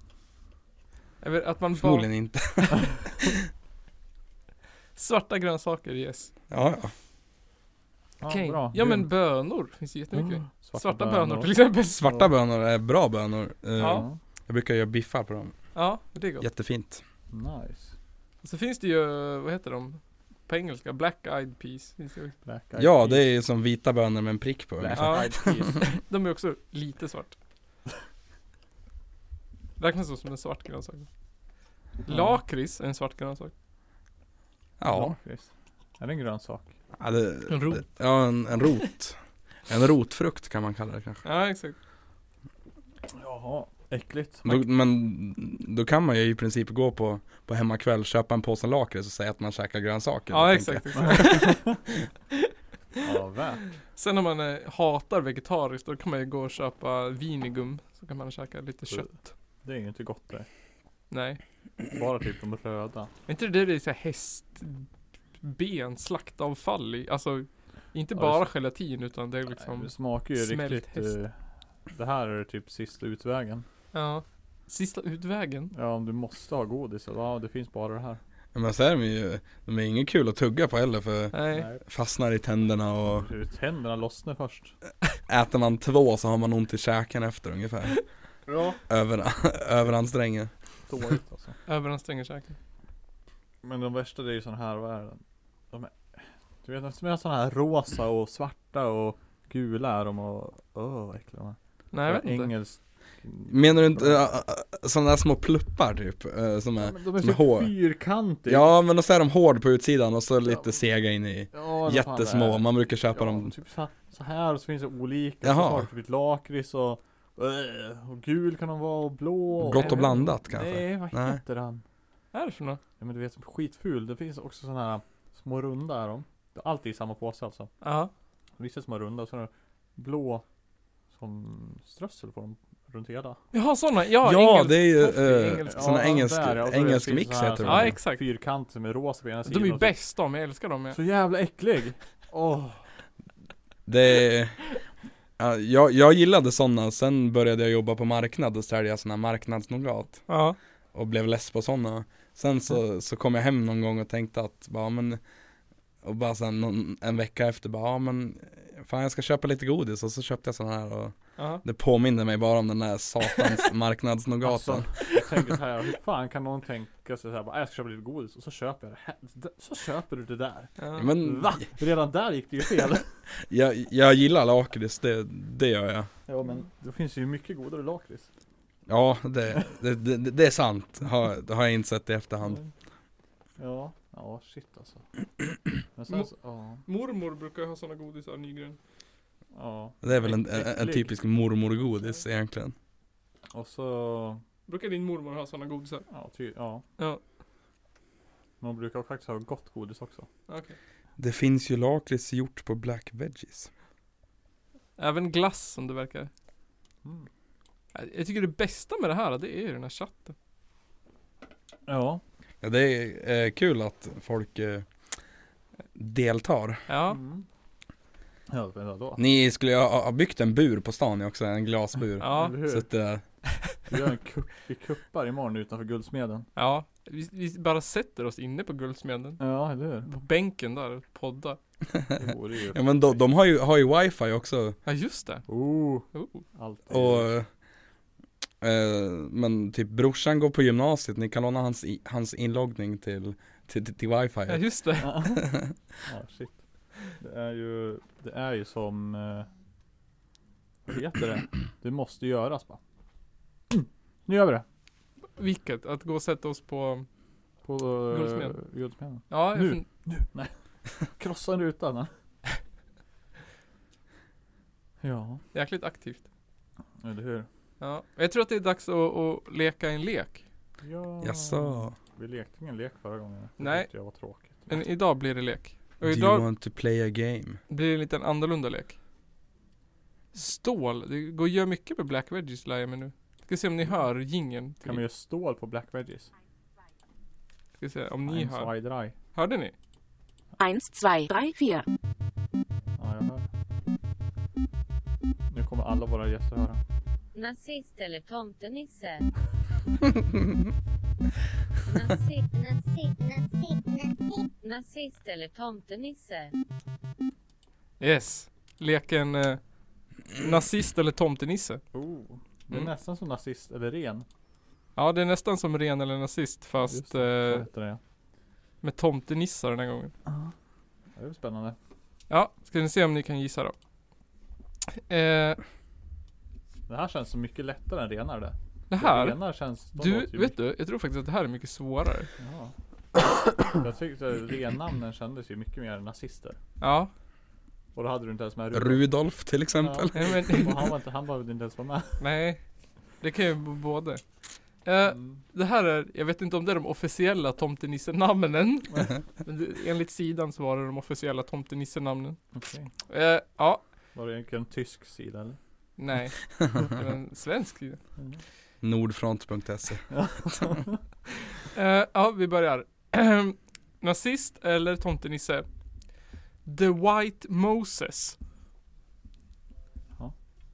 B: Eller Att man bara...
C: Förmodligen inte.
B: Svarta grönsaker, yes.
C: Ja, ja.
A: Ja,
B: Okej.
A: bra.
B: Ja men
A: Grymt.
B: bönor finns det jättemycket.
A: Ah,
B: Svarta, bönor, till exempel.
C: Svarta bönor är bra bönor. Eh,
B: Ja.
C: Jag brukar göra biffar på dem.
B: Ja, det är gott.
C: Jättefint.
A: Nice.
B: Så finns det ju, vad heter de? På engelska, Black Eyed Peas. finns det också.
A: Black Eyed
C: Ja,
A: Peas.
C: det är ju som vita bönor med en prick på.
A: Black
C: ungefär.
B: Ja.
A: Eyed Peas.
B: De är också lite svart. Räknas då som en svart grönsak. Lakrits är en svart grönsak.
C: Ja,
A: Lakrits. Är det en grön sak?
C: ja det,
B: En rot.
C: Det, ja, en, en rot. En rotfrukt kan man kalla det kanske.
B: Ja, exakt.
A: Jaha, äckligt.
C: Då, men då kan man ju i princip gå på, på hemmakväll, köpa en påse lakrits och säga att man käkar grönsaker.
B: Ja,
C: tänker jag.
B: exakt. exakt.
A: Ja, värt.
B: Sen om man eh, hatar vegetariskt, då kan man ju gå och köpa vinigum. Så kan man käka lite kött.
A: Det är ju inte gott det.
B: Nej.
A: Bara typ de röda.
B: Är inte det det är så här häst... ben, slaktavfall i. Alltså, inte
A: Ja,
B: bara
A: det-
B: gelatin utan det är liksom.
A: det smakar ju
B: smält
A: riktigt...
B: häst.
A: eh, det här är typ sista utvägen.
B: Ja. Sista utvägen.
A: Ja, om du måste ha godis. Ja, det finns bara det här.
C: Ja, Men så är de ju, de är inget kul att tugga på heller för
B: Nej.
C: fastnar i tänderna och
A: Du, Tänderna lossnar först.
C: äter man två så har man ont i käken efter ungefär.
A: Ja.
C: Över, överanstränger.
A: Dåligt alltså.
B: Överanstränger käken.
A: Men de värsta det är ju sån här, vad är det? De är, du vet eftersom jag har sån här rosa och svarta och gula är de och öh vad äckliga de är.
B: Nej jag vet inte.
A: Engelsk...
C: Menar du inte äh, sådana där små pluppar typ? Äh, som
A: Ja,
C: är,
A: men de är
C: som är
A: så
C: hår.
A: fyrkantiga.
C: ja men och så är de hård på utsidan och så lite sega in i.
A: Ja, vad fan det
C: Jättesmå,
A: är.
C: man brukar
A: Ja,
C: köpa dem.
A: typ så här, så här och så finns det olika.
C: Jaha.
A: Så har du typ lakrits och, öh, och gul kan de vara och blå. och-
C: Gott och
A: Nej,
C: blandat
A: men-
C: kanske.
A: Nej, vad
C: Nej.
A: heter han?
B: Vad är det för något?
A: Ja men du vet, som skitful. Det finns också såna här små runda är de. Allt är i samma påse alltså.
B: Ja.
A: Vissa som är runda och sådana blå som strössel på dem runt hela.
B: Jaha sådana.
C: Ja,
B: Ja,
C: det är ju
B: toffee,
C: eh,
B: engelsk-
C: såna
A: Ja,
C: engelsk,
A: där, ja, och så
C: engelsk
A: finns
C: mix
A: typ så här-
C: heter
B: Ja
C: de.
B: exakt.
A: Fyrkant som är rosa på ena sidan.
B: De är ju
A: och så-
B: bäst de, jag älskar dem ja.
A: Så jävla äcklig! Åh!
C: Det är, ja, jag, jag gillade sådana, sen började jag jobba på marknad och sälja sådana marknadsnougat.
B: Ja.
C: och blev less på sådana. Sen så, så kom jag hem någon gång och tänkte att, bara men, och bara sen någon, en vecka efter bara, ja men, fan jag ska köpa lite godis och så köpte jag sån här och
B: Ja.
C: det påminner mig bara om den där satans marknadsnougaten.
A: Alltså, jag tänker så här, hur fan kan någon tänka sig så här, bara, "Äh, jag ska köpa lite godis och så köper jag det här. Det- Så köper du det där.
B: ja.
C: Men
A: Va? Redan där gick det ju fel.
C: jag, jag gillar lakrits, det, det gör jag.
A: ja men det finns ju mycket godare lakrits.
C: Ja, det, det, det, det är sant, har, det har jag insett i efterhand.
A: Ja, ja shit alltså. Men sen så, ja.
B: Mormor brukar ju ha såna godisar Nygren.
A: Ja.
C: Det är väl en, en, en
A: Äcklig.
C: typisk mormorgodis egentligen.
A: Och så
B: Brukar din mormor ha såna godisar?
A: Ja, ty, ja.
B: Ja.
A: Men de brukar faktiskt ha gott godis också.
C: Det finns ju lakrits gjort på black veggies.
B: Även glass som det verkar.
A: Mm.
B: Jag jag tycker det bästa med det här, det är ju den här chatten.
A: Ja.
C: Ja, det är eh, kul att folk eh, deltar.
B: Ja.
A: Mm. Ja, vänta då.
C: Ni skulle ju ha, ha byggt en bur på stan också, en glasbur.
B: Ja.
A: Eller hur?
C: Så att, eh,
A: Vi gör en kupp, vi kuppar imorgon utanför Guldsmeden.
B: Ja. Vi, vi bara sätter oss inne på Guldsmeden.
A: Ja, eller hur?
B: På bänken där, och poddar.
A: Det vore ju...
C: ja men de, de har ju, har ju wifi också.
B: Ja just det.
A: Oh,
B: Oh.
A: allt.
C: Och, eh, men typ brorsan går på gymnasiet, ni kan låna hans, i, hans inloggning till, till, till, till wifi.
B: Ja just det.
A: Ja. ja, shit. Det är ju, det är ju som... eh, Vad heter det? Det måste göras bara. Mm. Nu gör vi det.
B: Vilket? Att gå och sätta oss på...
A: På eh,
B: Guldsmeden.
A: Guldsmeden.
B: Ja, jag
A: Nu.
B: fun-
A: Krossa en ruta. va? Ja,
B: jäkligt aktivt.
A: eller hur?
B: Ja. Jag tror att det är dags att, att leka en lek.
A: Ja.
C: Jaså?
A: Vi lekte ingen lek förra gången. Det
B: Nej.
A: tyckte jag var tråkigt.
B: Men idag blir det lek.
C: Do
B: Och
C: you
B: idag
C: want to play a game?
B: blir det en liten annorlunda lek. Stål. Det går att göra mycket med Black Veggies lär jag mig nu. Ska se om ni hör jingeln.
A: Kan man göra stål på black veggies?
B: Ska se om ni
A: I'm
B: hör.
A: so dry.
B: Hörde ni?
D: 1, 2, 3, 4.
A: Ja, jag hör. Nu kommer alla våra gäster höra.
E: Nazist eller tomtenisse? Nazist, nazist, nazist, nazist. Nazist eller tomtenisse?
B: Yes. Leken eh, nazist eller tomtenisse.
A: Oh. Det är
B: Mm.
A: nästan som nazist eller ren.
B: Ja, det är nästan som ren eller nazist
A: Just
B: fast
A: det, så
B: eh,
A: heter det.
B: med tomtenissar den här gången.
A: Ja, Det är spännande.
B: Ja, ska ni se om ni kan gissa då. Eh,
A: Det här känns så mycket lättare än renar det.
B: det här.
A: Renar känns... de
B: Du,
A: låter ju
B: vet
A: mycket-
B: du? Jag tror faktiskt att det här är mycket svårare.
A: Ja. Jag tyckte rennamnen kändes ju mycket mer nazister.
B: Ja,
A: Och då hade du inte ens med
C: Rudolf till exempel.
A: Ja.
B: nej, men,
A: Och han, var inte, han behövde inte ens vara med.
B: nej. Det kan ju vara både. Eh,
A: Mm.
B: det här är, jag vet inte om det är de officiella tomtenissenamnen. Men det- enligt sidan så var det de officiella tomtenissenamnen.
A: Okej.
B: Eh, ja,
A: Var det en tysk sida eller?
B: nej. Det var en svensk sida.
C: E. Nordfront.se
B: Eh, ja, vi börjar. Nazist eller tomtenisse? The White Moses.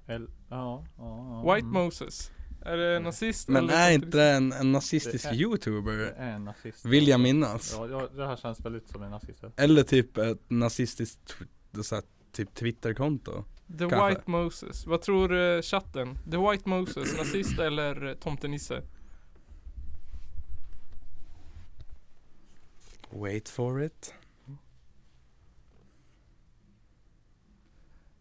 A: Eller, ja, ja, ja. Mm.
B: White Moses. Är det nazist
C: Men
B: eller
C: är
B: tomtenisse?
C: inte det en, en nazistisk
A: Det är- Det
C: youtuber?
A: är en nazist.
C: Vill jag minnas.
A: Ja, ja, det här känns väldigt som en nazist. ja.
C: Eller typ ett nazistiskt tw- så här, typ twitterkonto.
B: The
C: Kanske.
B: White Moses. Vad tror eh, chatten? The White Moses, nazist eller eh, tomtenisse?
C: Wait for it.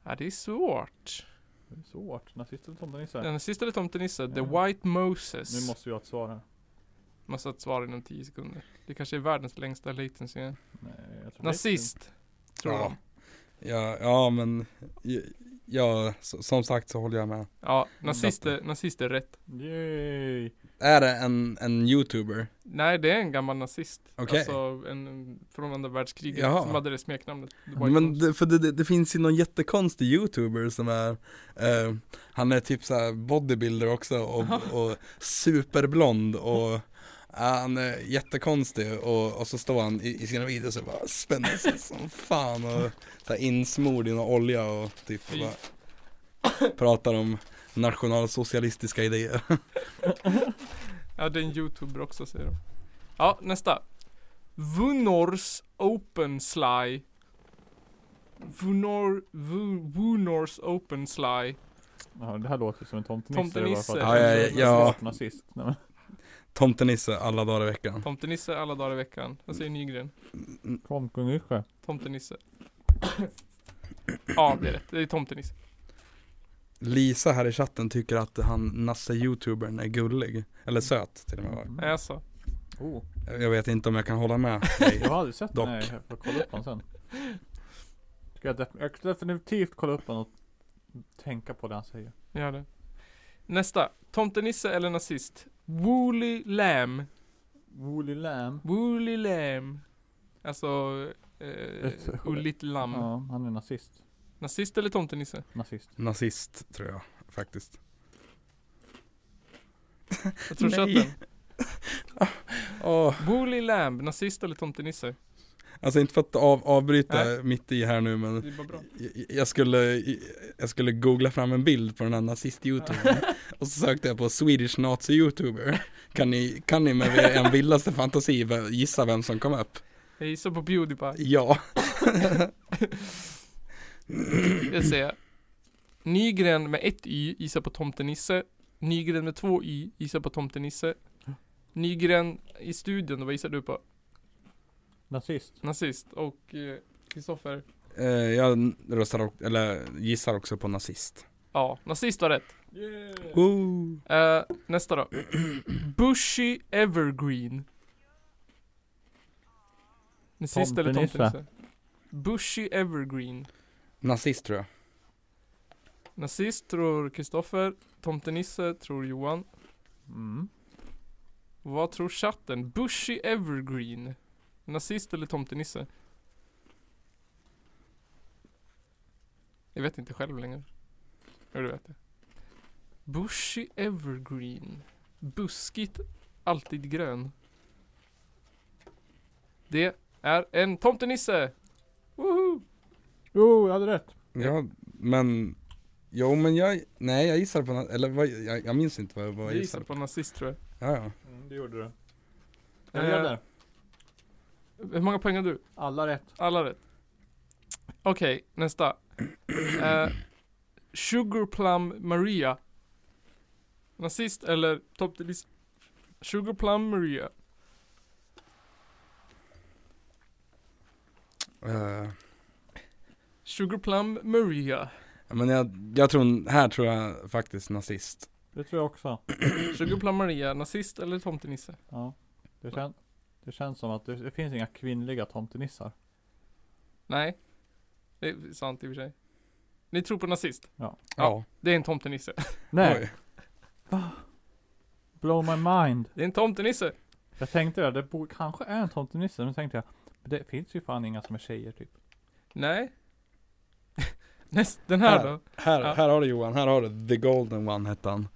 B: Ja, det är svårt.
A: Det är svårt. Nazist eller
B: Är
A: tomtenisse?
B: det Nazist eller tomtenisse? The
A: Ja.
B: White Moses.
A: Nu måste vi ha ett svar här.
B: Måste ha ett svar inom 10 sekunder. Det kanske är världens längsta latency.
A: Nej, jag tror
B: Nazist. Tror
C: Ja.
B: jag.
C: Ja, ja men, ja, ja, s- som sagt så håller jag med.
B: Ja, nazist är, nazist är rätt.
A: det. Yay!
C: Är det en, en youtuber?
B: Nej, det är en gammal nazist.
C: Okej.
B: Alltså en från andra världskriget
C: Jaha.
B: som hade det smeknamnet. The White
C: Men
B: Moses.
C: det, för det, det, det finns ju någon jättekonstig youtuber som är eh, Han är typ såhär bodybuilder också och, och superblond och ja, han är jättekonstig och, och så står han i, i sina videos och bara spänner sig som fan och så här insmord i någon olja och typ
B: Fy.
C: bara pratar om nationalsocialistiska idéer.
B: Ja, det är en youtuber också säger de. Ja, nästa. Vunors Open Sly. Vunor, Vu- Vunors Open Sly.
A: Ja, det här låter som en tomtenisse.
B: Tomtenisse.
A: bara för
C: Ja,
A: att-
C: ja,
A: det är
C: ja.
A: svårt Nazist. Nej, men,
C: Tomtenisse alla dagar i veckan.
B: Tomtenisse alla dagar i veckan. Vad säger Nygren?
A: tomtenisse.
B: Tomtenisse. Ja, det är rätt. Det är tomtenisse.
C: Lisa här i chatten tycker att han Nasse-youtubern är gullig, eller söt till och med var.
B: Nej, Alltså.
A: Mm. Oh,
C: Jag vet inte om jag kan hålla med dig.
A: jag har aldrig sett den.
C: Dock.
A: Nej, jag får kolla upp den sen. Ska jag, def- jag ska definitivt kolla upp den och tänka på det han säger.
B: Gör det. Nästa. Tomtenisse eller nazist? Wooly Lamb.
A: Woolly Lamb.
B: Wooly Lamb. Alltså, eh,
A: Ett-
B: ulligt lamm.
A: Ja, han är nazist.
B: Nazist eller tomtenisse?
A: Nazist.
C: Nazist tror jag faktiskt.
B: Jag tror
C: Nej.
B: chatten.
C: Åh,
B: Wooly Lamb, nazist eller tomtenisse?
A: Mm.
C: alltså inte för att av, avbryta
B: Nej.
C: mitt i här nu men
B: Det är bara bra.
C: jag- jag skulle, jag skulle googla fram en bild på den här nazist-youtubern och så sökte jag på Swedish Nazi-youtuber. Kan ni, kan ni med er vildaste fantasi vä- gissa vem som kom upp?
B: Jag gissar på Pewdiepie.
C: Ja.
B: Jag säger Nygren med ett Y gissar på tomtenisse. Nygren med två Y gissar på tomtenisse. Nygren i studion, vad gissar du på?
A: Nazist.
B: Nazist och eh, Kristoffer?
C: Eh, jag röstar, o- eller gissar också på nazist.
B: ja, nazist var rätt.
C: Ooh.
B: Eh, nästa då. Bushy Evergreen. Nazist eller
A: Tomtenisse.
B: tomtenisse? Bushy Evergreen.
C: Nazist tror jag.
B: Nazist tror Kristoffer, tomtenisse tror Johan.
A: Mm.
B: Vad tror chatten? Bushy Evergreen. Nazist eller tomtenisse? Jag vet inte själv längre. Jo, du vet det. Bushy Evergreen. Buskigt, alltid grön. Det är en tomtenisse! Woho!
A: Jo, jag hade rätt.
C: Ja, men Jo men jag, nej jag gissar på, na- eller vad, jag, jag minns inte vad, vad
B: Jag
C: jag
B: gissar
C: gissade på.
B: på nazist tror jag.
C: Ja, ja.
A: Mm, det gjorde du. Jag
B: Eh,
A: leder.
B: Hur många poäng har du?
A: Alla rätt.
B: Alla rätt. Okej, nästa. Eh, Sugar Plum Maria. Nazist eller toppdelis? Sugar Plum Maria.
C: Eh,
B: Sugar Plum Maria.
C: men jag, jag tror, här tror jag faktiskt nazist.
A: Det tror jag också.
B: Sugar Plum Maria, nazist eller tomtenisse?
A: Ja. Det, kän- det känns som att det, det finns inga kvinnliga tomtenissar.
B: Nej. Det är sant i och för sig. Ni tror på nazist?
C: Ja.
B: Det är en tomtenisse.
A: Nej.
C: Oj.
A: Blow my mind.
B: Det är en tomtenisse.
A: Jag tänkte det, det bo- kanske är en tomtenisse, men tänkte jag Det finns ju fan inga som är tjejer typ
B: Nej. Näst, den här
C: Här.
B: då.
C: Här,
B: Ja.
C: här har du Johan, här har du The Golden One hette han.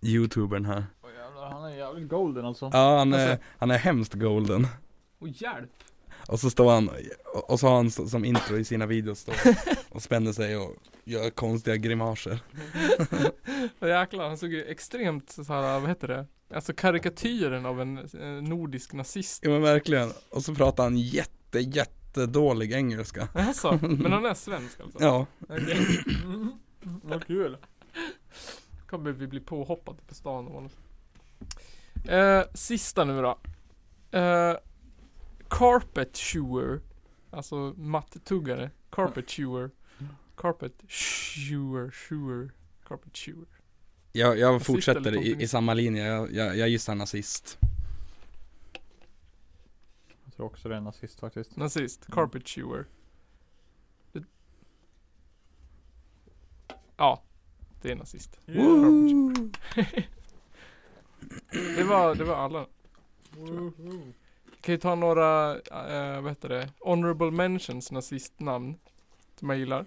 C: Youtubern här.
A: Åh jävlar, han är jävligt golden alltså
C: Ja han är,
B: Alltså-
C: han är hemskt golden.
B: Och hjälp!
C: Och så står han, och och så har han så- som intro i sina videos då, och spänner sig och gör konstiga grimaser
B: Och jäklar, han såg ju extremt så här, vad heter det? Alltså karikatyren av en eh, nordisk nazist.
C: Jo men verkligen, och så pratar han jätte, jätte dålig engelska
B: Alltså, men han är svensk alltså?
C: Ja,
B: Okej. Mm.
A: Vad kul.
B: Kommer vi bli påhoppade på stan om man... Eh, sista nu då. Eh, carpet chewer. Alltså mattuggare. Carpet chewer. Carpet chewer, chewer. Carpet chewer.
C: jag, jag
B: Nazist
C: fortsätter
B: eller
C: i, i
B: kommunist?
C: samma linje, jag, jag, jag gissar nazist
A: Jag tror också det är en nazist faktiskt.
B: Nazist. Carpet chewer. Det... Ja, det är nazist. Carpet chewer. Det var, det var alla. Kan ju ta några, eh, vad heter det, honorable mentions nazistnamn. Som jag gillar.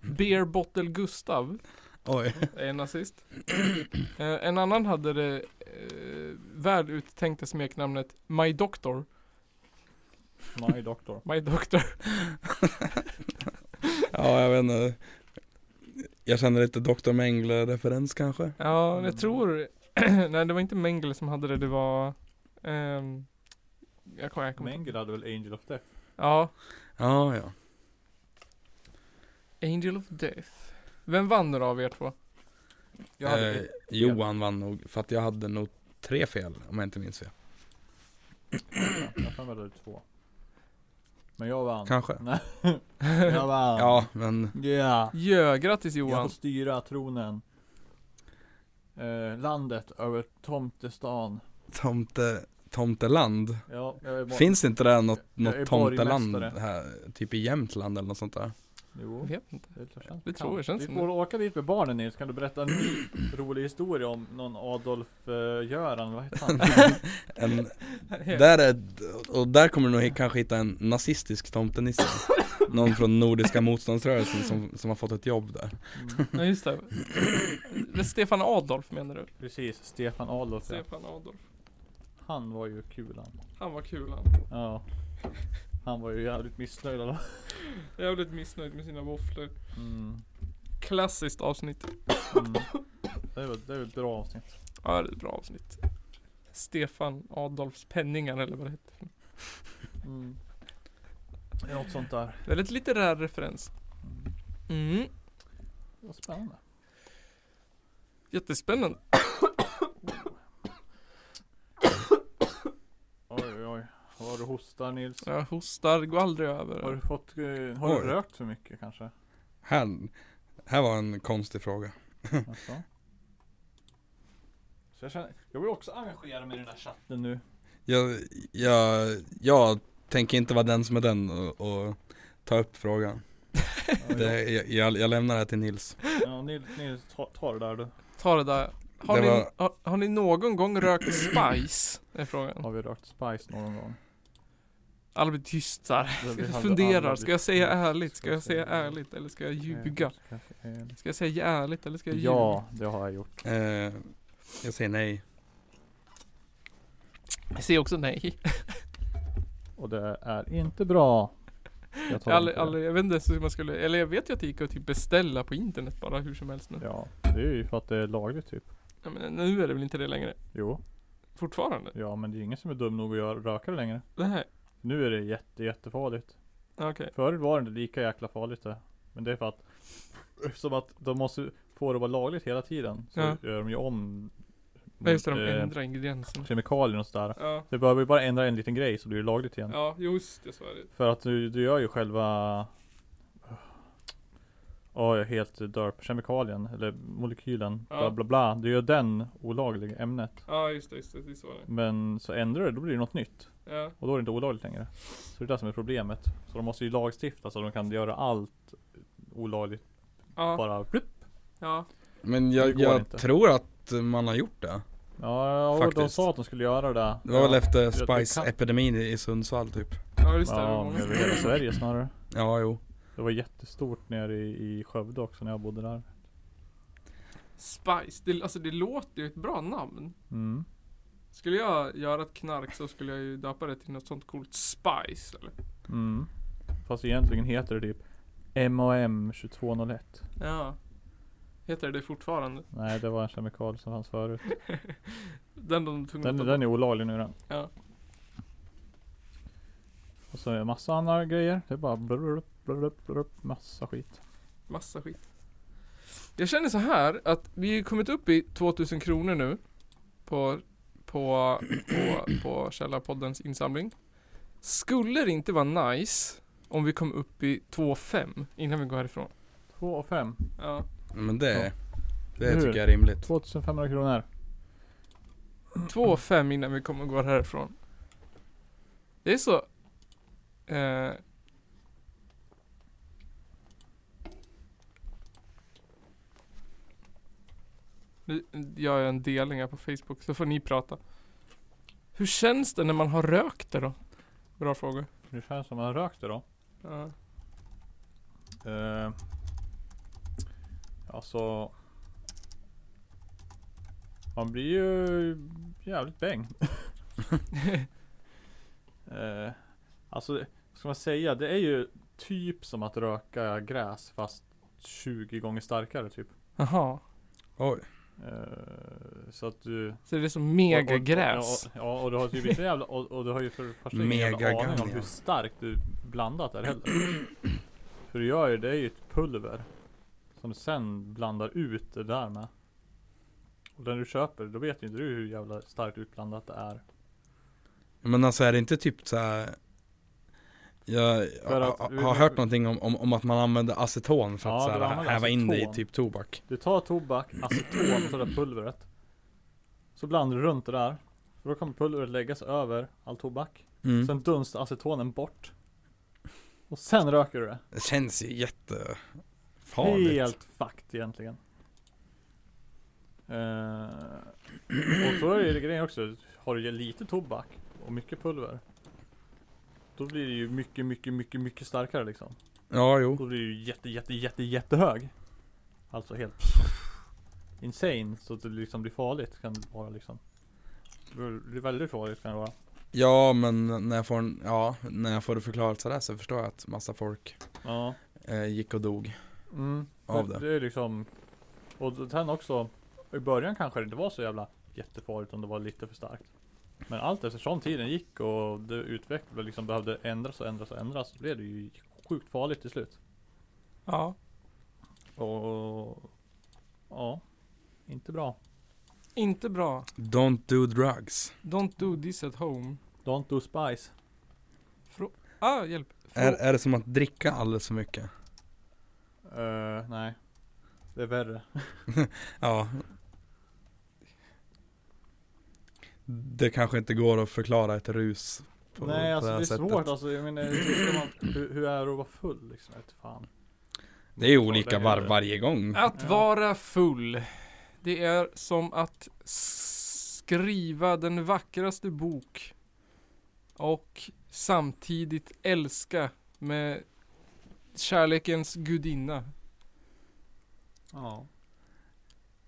B: Beer Bottle Gustav
C: Oj,
B: är en nazist. Eh, en annan hade det eh, väl uttänkta smeknamnet My Doctor.
A: My doctor.
B: My Doctor.
C: ja jag vet inte Jag känner lite Dr. Mengele-referens kanske
B: Ja,
A: Mm.
B: jag tror, nej det var inte Mengele som hade det, det var ehm, jag kommer, jag kommer
A: Mengele hade väl Angel of Death?
B: Ja,
C: Ja, ja
B: Angel of Death. Vem vann nu då av er två?
A: Jag hade
C: eh,
A: ett fel.
C: Johan vann nog, för att jag hade nog tre fel om jag inte minns fel
A: Ja, Jag har för mig att jag hade två. Men jag vann.
C: Kanske
A: Nej. jag vann.
C: Ja, men
A: Yeah.
B: Ja, grattis
A: Jag får
B: Johan.
A: styra tronen. Eh, landet över tomtestan.
C: tomte, tomteland
A: Ja, jag är bara...
C: Finns inte det något,
A: Jag är
C: något tomteland
A: borgmästare.
C: här, typ i Jämtland eller något sånt där?
A: Jo.
B: Jag vet inte.
A: Det, tror jag
B: Det tror jag,
A: kan.
B: känns
A: Vi
B: som
A: får åka dit med barnen Nils, kan du berätta en ny rolig historia om någon Adolf eh, Göran, vad heter han?
C: En, där är, och där kommer du nog hi- kanske hitta en nazistisk tomtenisse Någon från Nordiska motståndsrörelsen som, som har fått ett jobb där
A: Mm,
B: Ja just det. det är Stefan Adolf menar du?
A: precis, Stefan Adolf ja.
B: Stefan Adolf.
A: Han var ju kulan.
B: Han var kul han.
A: Ja. Han var ju jävligt missnöjd alla.
B: Jävligt missnöjd med sina våfflor.
A: Mm.
B: Klassiskt avsnitt.
A: Mm. Det, var, det var ett bra avsnitt.
B: Ja det är ett bra avsnitt. Stefan Adolfs penningar eller vad det heter.
A: Mm. Det är något sånt där.
B: Väldigt litterär referens. Mm.
A: Vad spännande.
B: Jättespännande.
A: Oj oj oj. Vad du hostar Nils.
B: Jag hostar, går aldrig över.
A: Har du fått, eh, har du
C: Oj.
A: rökt för mycket kanske?
C: Här, här var en konstig fråga
A: Alltså. Så jag, känner, jag vill också engagera mig i den här chatten nu.
C: Jag, jag, jag tänker inte vara den som är den och, och ta upp frågan det, jag- jag, jag lämnar det här till Nils
A: Ja, ni, ni ta, ta det där du.
B: Ta det där. Har,
C: Det
B: ni,
C: var-
B: har, har ni någon gång rökt spice? Är frågan.
A: Har vi rökt spice någon gång?
B: Alla blir tyst så här.
A: Det- vi hade
B: Funderar.
A: aldrig
B: Ska jag säga
A: blivit-
B: ärligt? Ska jag säga
A: säga-
B: ärligt? Eller ska jag ljuga?
A: Ska jag säga ärligt?
B: Ska jag säga ärligt eller ska jag ljuga?
A: Ja, det har jag gjort.
C: eh, Jag säger nej
B: Jag säger också nej.
A: Och det är inte bra. Jag
B: Jag, aldrig,
A: inte det.
B: aldrig, jag vet inte ens hur man skulle, eller jag vet ju att det gick att typ beställa på internet bara hur som helst nu.
A: Ja, det är ju för att det är lagligt typ.
B: Ja, men nu är det väl inte det längre?
A: Jo,
B: Fortfarande?
A: ja men det är ingen som är dum nog att göra, röka det längre.
B: Nej.
A: Nu är det jätte, jättefarligt.
B: Okej.
A: Förut var det inte lika jäkla farligt det. Men det är för att Eftersom att de måste få det att vara lagligt hela tiden Så
B: Ja.
A: gör de ju om
B: Ja just det, de
A: eh,
B: ändrar ingredienserna.
A: Kemikalier och sådär
B: Ja.
A: Det behöver ju bara ändra en liten grej så blir det lagligt igen
B: Ja, just det, så är det.
A: För att du, du gör ju själva Ja, jag är helt dörp Kemikalien eller molekylen
B: Ja.
A: bla bla bla Du gör den olaglig ämnet
B: Ja, just det, just det, det är så det
A: Men så ändrar du det, då blir det något nytt
B: är. Ja.
A: Och då är det inte olagligt längre. Så det är det som är problemet. Så de måste ju lagstifta så de kan göra allt olagligt.
B: Ja.
A: Bara plupp.
B: Ja.
C: Men
A: Det
C: jag,
A: går
C: jag
A: inte.
C: tror att man har gjort det
A: Ja, och de
C: Faktiskt.
A: sa att de skulle göra det.
C: Det var väl efter
A: det kan-
C: Spice-epidemin i- i Sundsvall typ
B: Ja, just det. det var
A: Ja,
B: många
A: men
B: som-
A: över hela Sverige snarare.
C: Ja, jo
A: Det var jättestort nere i, i Skövde också när jag bodde där.
B: Spice, det, alltså det låter ju ett bra namn.
A: Mm.
B: Skulle jag göra ett knark så skulle jag ju döpa det till något sånt coolt spice eller?
A: Mm. Fast egentligen heter det typ MAM 2201.
B: Ja. Heter det fortfarande?
A: Nej, det var en kemikal som fanns förut.
B: Den de tog
A: Den,
B: upp.
A: den är olaglig nu den.
B: Mm. Ja.
A: Och så är det massa andra grejer. Det är bara blub, blub, blub, massa skit.
B: Massa skit. Jag känner så här att vi har ju kommit upp i 2000 kronor nu. På, på, på, på Källarpoddens insamling. Skulle det inte vara nice om vi kom upp i 2,5 innan vi går härifrån?
A: 2 och 5.
B: Ja.
C: Men det, det
A: Hur?
C: tycker jag är rimligt.
A: 2500 kronor.
B: 2,5 innan vi kommer gå härifrån. Det är så... Eh, Nu gör jag en delning här på Facebook så får ni prata. Hur känns det när man har rökt det då? Bra fråga.
A: Det känns som man rökte då.
B: Ja.
A: Eh, alltså. Man blir ju jävligt bäng. eh, alltså, vad ska man säga? Det är ju typ som att röka gräs fast 20 gånger starkare typ.
B: Jaha.
C: Oj,
A: Eh, så att du...
B: Så det är som
A: och- och-
B: megagräs.
A: Ja, och, ja, och du har typ inte jävla... Och, och du har ju för det första ingen jävla
C: Mega
A: aning om
C: ganglion.
A: hur starkt du blandat är heller. För du gör ju, det är ju ett pulver. Som sen blandar ut det där med. Och när du köper då vet ju inte du hur jävla starkt utblandat det är.
C: men alltså är det inte typ så här. Jag
A: För att-
C: har- har hört någonting om, om, om att man använder aceton för att
A: Ja,
C: så
A: du
C: här,
A: använder
C: häva in det i
A: aceton.
C: typ tobak.
A: Du tar tobak, aceton och så det där pulvret. Så blandar du runt det där. För då kommer pulvret läggas över all tobak.
C: Mm.
A: Sen dunstar acetonen bort. Och sen röker du det.
C: Det känns ju jättefarligt.
A: Helt fucked egentligen. Eh, och så är det grejen också. Har du lite tobak och mycket pulver. Då blir det ju mycket, mycket, mycket, mycket starkare liksom.
C: Ja, jo.
A: Då blir det ju jätte, jätte, jätte, jättehög. Alltså helt insane. Så att det liksom blir farligt kan det vara liksom. Det blir väldigt farligt kan det vara.
C: Ja, men när jag får, en, ja, när jag får det förklarat sådär så förstår jag att massa folk
A: Ja.
C: eh, gick och dog
A: Mm.
C: av
A: Men
C: det.
A: Det är liksom Och sen också I början kanske det inte var så jävla Jättefarligt om det var lite för starkt Men allt eftersom tiden gick och det utvecklades liksom behövde ändras och ändras och ändras Så blev det ju sjukt farligt till slut
B: Ja.
A: Och Ja Inte bra
B: Inte bra.
C: Don't do drugs.
B: Don't do this at home.
A: Don't do spice
B: Frå- ah, hjälp. Frå-
C: Är, är det som att dricka alldeles för mycket?
A: Eh, Nej Det är värre
C: Ja. Det kanske inte går att förklara ett rus på
A: Nej
C: på
A: alltså det
C: här
A: är
C: sättet.
A: svårt alltså Jag menar hur, ska man, hur, hur är det att vara full liksom? Jag vet fan
C: Det är ju olika
A: är-
C: varv varje gång.
B: Att
A: Ja.
B: vara full. Det är som att skriva den vackraste bok och samtidigt älska med kärlekens gudinna.
A: Ja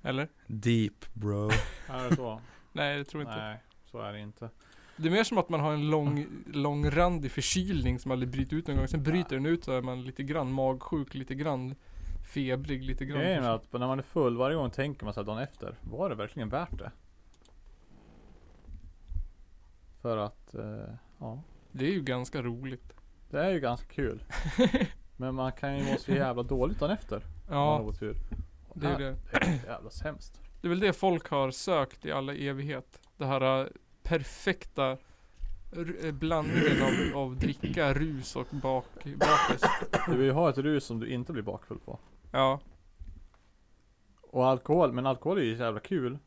B: Eller?
C: Deep bro.
A: Är det så?
B: Nej, det tror jag inte.
A: Nej så är det inte
B: Det är mer som att man har en lång, långrandig förkylning som aldrig bryter ut någon gång. Sen bryter den ut så är man lite grann magsjuk, lite grann febrig, lite grann.
A: Grejen är att när man är full varje gång tänker man så här dagen efter. Var det verkligen värt det? För att, eh, ja.
B: Det är ju ganska roligt.
A: Det är ju ganska kul. Men man kan ju må så jävla dåligt dagen efter. om man har
B: Ja,
A: otur. Och
B: det är ju
A: här-
B: det.
A: det är ju jävla sämst.
B: Det är väl det folk har sökt i alla evighet. Det här eh, perfekta r- eh, blandningen av, av dricka, rus och bak, bakis.
A: Du vill ju ha ett rus som du inte blir bakfull på.
B: Ja,
A: Och alkohol, men alkohol är ju så jävla kul.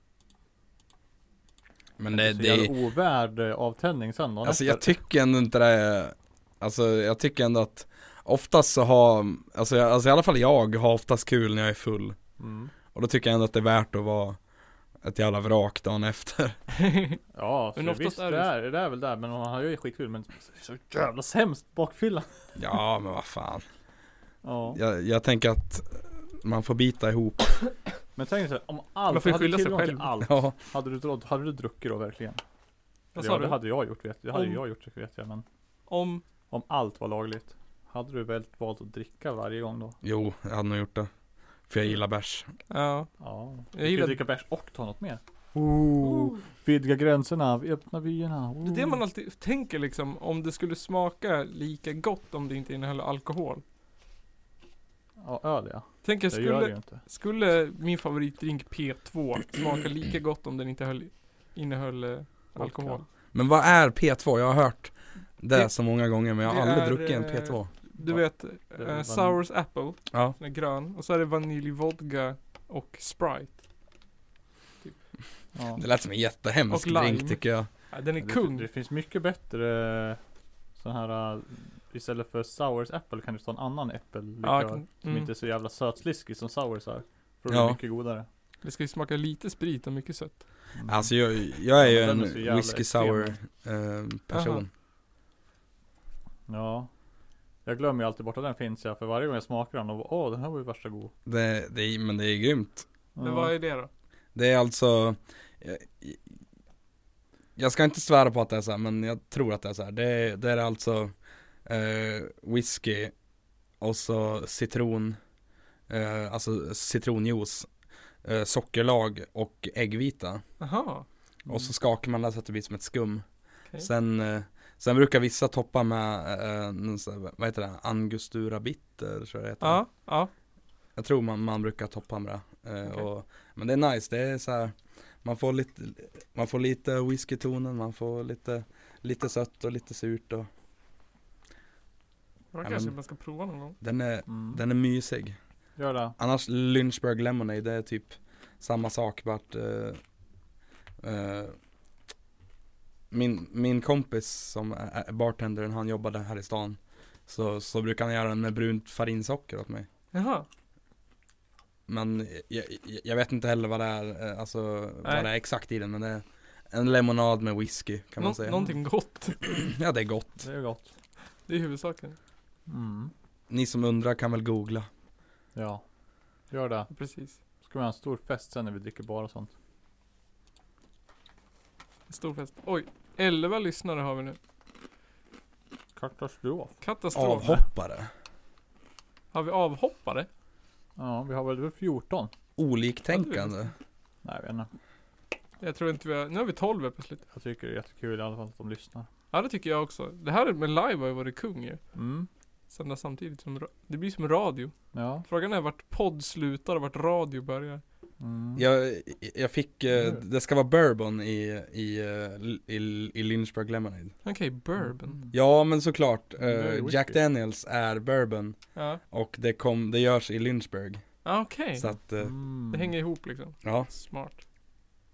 C: Men det,
A: så
C: det är,
A: jävla ovärd eh, avtändning sen dagen
C: alltså jag
A: efter.
C: tycker ändå inte det är, alltså jag tycker ändå att oftast så har, alltså, jag, alltså i alla fall jag har oftast kul när jag är full.
A: Mm.
C: Och då tycker jag ändå att det är värt att vara ett jävla vrak dagen efter.
A: Ja, så
B: Men oftast
A: visst
B: är
A: det
B: det-
A: är, det är väl där. Men man har ju skitkul. Men så jävla sämst bakfylla.
C: Ja men vad fan.
A: Ja.
C: Jag, jag tänker att man får bita ihop
A: Men tänk dig så här, om allt,
B: Man får ju
A: hade
B: skylla sig
A: tillgång till
B: själv.
A: allt.
C: Ja,
A: Hade du, drott- hade du druckit då verkligen?
B: Vad
A: Eller
B: sa
A: ja, det
B: du?
A: hade jag gjort vet jag. Det hade
B: Om-
A: ju jag gjort det vet jag. Men
B: Om,
A: om allt var lagligt. Hade du väl valt att dricka varje gång då?
C: jo, jag hade nog gjort det. För jag gillar bärs.
B: ja.
A: Ja.
B: Jag
A: Jag
B: gillar- Oh.
A: gillar... dricka bärs och ta något mer. Ooh. Vidga gränserna, vi öppnar vyerna. Oh.
B: Det är det
A: ooh.
B: man alltid tänker liksom, om det skulle smaka lika gott om det inte innehöll alkohol.
A: Ja, öl ja.
B: Tänk jag
A: Det gör det ju
B: skulle,
A: inte.
B: skulle min favoritdrink P2 smaka lika gott om den inte höll, innehöll eh, alkohol?
C: Men vad är P2? Jag har hört det,
B: Det-
C: så många gånger men jag har
B: det
C: aldrig
B: är,
C: druckit en
B: eh,
C: P2.
B: Du
A: Va-
B: vet,
A: är
B: eh,
A: vanilj.
B: Sours Apple,
C: Ja.
B: den är grön, och så är det vaniljvodka och Sprite.
A: Ja.
C: Det lät som en jättehemsk
B: Och lime.
C: drink tycker jag.
B: Ja, den är
A: Men det-
B: kung.
A: Det finns mycket bättre sån här äh, Istället för Sours Apple kan du ta en annan äppellikör
B: ja, kan-
A: Som
B: mm.
A: inte är så jävla sötsliskig som Sours är För det
C: Ja.
A: är mycket godare
B: Det ska ju smaka lite sprit och mycket sött.
A: Mm.
C: Alltså jag, jag är ju
A: Ja, men
C: en
A: den är så jävla
C: whisky
A: extrem.
C: sour eh, person.
A: Ja Jag glömmer ju alltid bort att den finns ja För varje gång jag smakar den och åh den här var ju värsta god Mm.
C: Det, det, är- men det är grymt.
B: Men vad är det då?
C: Det är alltså jag, jag ska inte svära på att det är så här, men jag tror att det är så här. Det, är- det är alltså eh, whisky och så citron, eh, alltså citronjuice, eh, sockerlag och äggvita.
B: Jaha.
C: Och så skakar man det så att det blir som ett skum.
B: Mm. okej.
C: Sen, eh, sen brukar vissa toppa med, eh, någon sån här, vad heter det, angostura bitter tror jag det heter.
B: Ja, ja.
C: Jag tror man, man brukar toppa med det. Eh,
B: Okej.
C: och, men det är nice, det är så här, man får lite, man får lite whiskytonen, man får lite, lite sött och lite surt och
B: Det
C: Ja,
B: kanske
C: men-
B: man ska prova någon gång.
C: den är,
A: mm.
C: den är mysig.
A: Gör det
C: Annars Lynchburg Lemonade, det är typ samma sak vart eh, eh, min, min kompis som är är bartendern, han jobbade här i stan Så, så brukar han göra den med brunt farinsocker åt mig
B: Jaha.
C: Men jag, jag- jag vet inte heller vad det är, eh, alltså
B: Nej.
C: vad det är exakt i den men det är en lemonad med whisky kan man
B: Nå-
C: säga
B: Någonting gott.
C: Ja det är gott
A: Det är ju gott
B: Det är huvudsaken.
A: mm.
C: Ni som undrar kan väl googla
A: Ja Gör det
B: Precis.
A: Ska vi ha en stor fest sen när vi dricker bara sånt
B: Stor fest. Oj, 11 lyssnare har vi nu.
A: Katastrof
B: Katastrof.
C: Avhoppare
B: Har vi avhoppare?
A: Ja vi har väl 14
C: Oliktänkande
A: Nej jag vet inte
B: Jag tror inte vi har... Nu har vi 12 här på slutet.
A: Jag tycker det är jättekul i alla fall att de lyssnar
B: Ja, det tycker jag också. Det här med live har ju varit kung ju.
A: Mm
B: Sända samtidigt som... ra- Det blir som radio.
A: Ja
B: Frågan är vart podd slutar och vart radio börjar.
A: mm.
C: Jag, jag fick, eh,
A: Mm.
C: det ska vara bourbon i, i, eh, i, i Lynchburg Lemonade
B: Okej, bourbon.
A: Mm.
C: Ja men såklart, eh,
A: Det är ju whisky.
C: Jack Daniels är bourbon
B: Ja.
C: och det, kom, det görs i Lynchburg
B: Ah, Okej.
C: Så att, eh,
A: Mm.
B: Det hänger ihop liksom.
C: ja
B: Smart.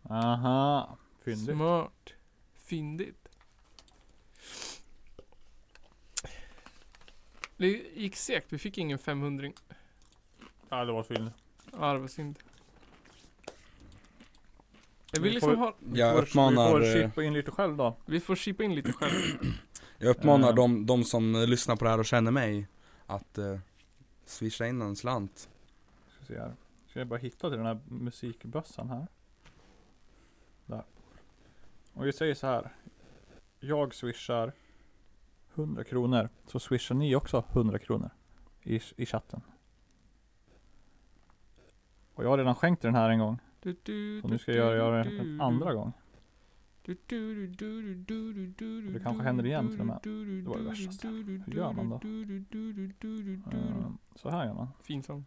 A: Aha, fyndigt.
B: Smart. Fyndigt. Det gick segt. Vi fick ingen 500
A: Ja, det var fyndigt.
B: Ja, det var synd. Jag
A: Vi
B: vill liksom
A: får-
B: ha...
C: Jag uppmanar,
A: Vi får
C: eh,
A: chippa in lite själv då.
B: Vi får chippa in lite själv.
C: jag uppmanar
A: Eh.
C: de, de som eh, lyssnar på det här och känner mig att eh, swisha in en slant
A: Ska se här. Ska jag bara hitta till den här musikbössan här. Där. Och vi säger så här. Jag swishar 100 kronor. Så swishar ni också 100 kronor. I, i chatten. Och jag har redan skänkt den här en gång.
B: Du, du,
A: Och nu ska
B: du,
A: jag
B: du,
A: göra
B: du,
A: det en
B: du.
A: andra gång.
B: Du, du, du, du, du, du, du, du, du,
A: Det kanske
B: du,
A: händer igen
B: du,
A: till och med.
B: du, du,
A: Det var det
B: du,
A: värsta sen.
B: du, du,
A: Hur gör man då?
B: du, du, du, du, du, du, du.
A: Ehm, Så här gör man.
B: Fin sång.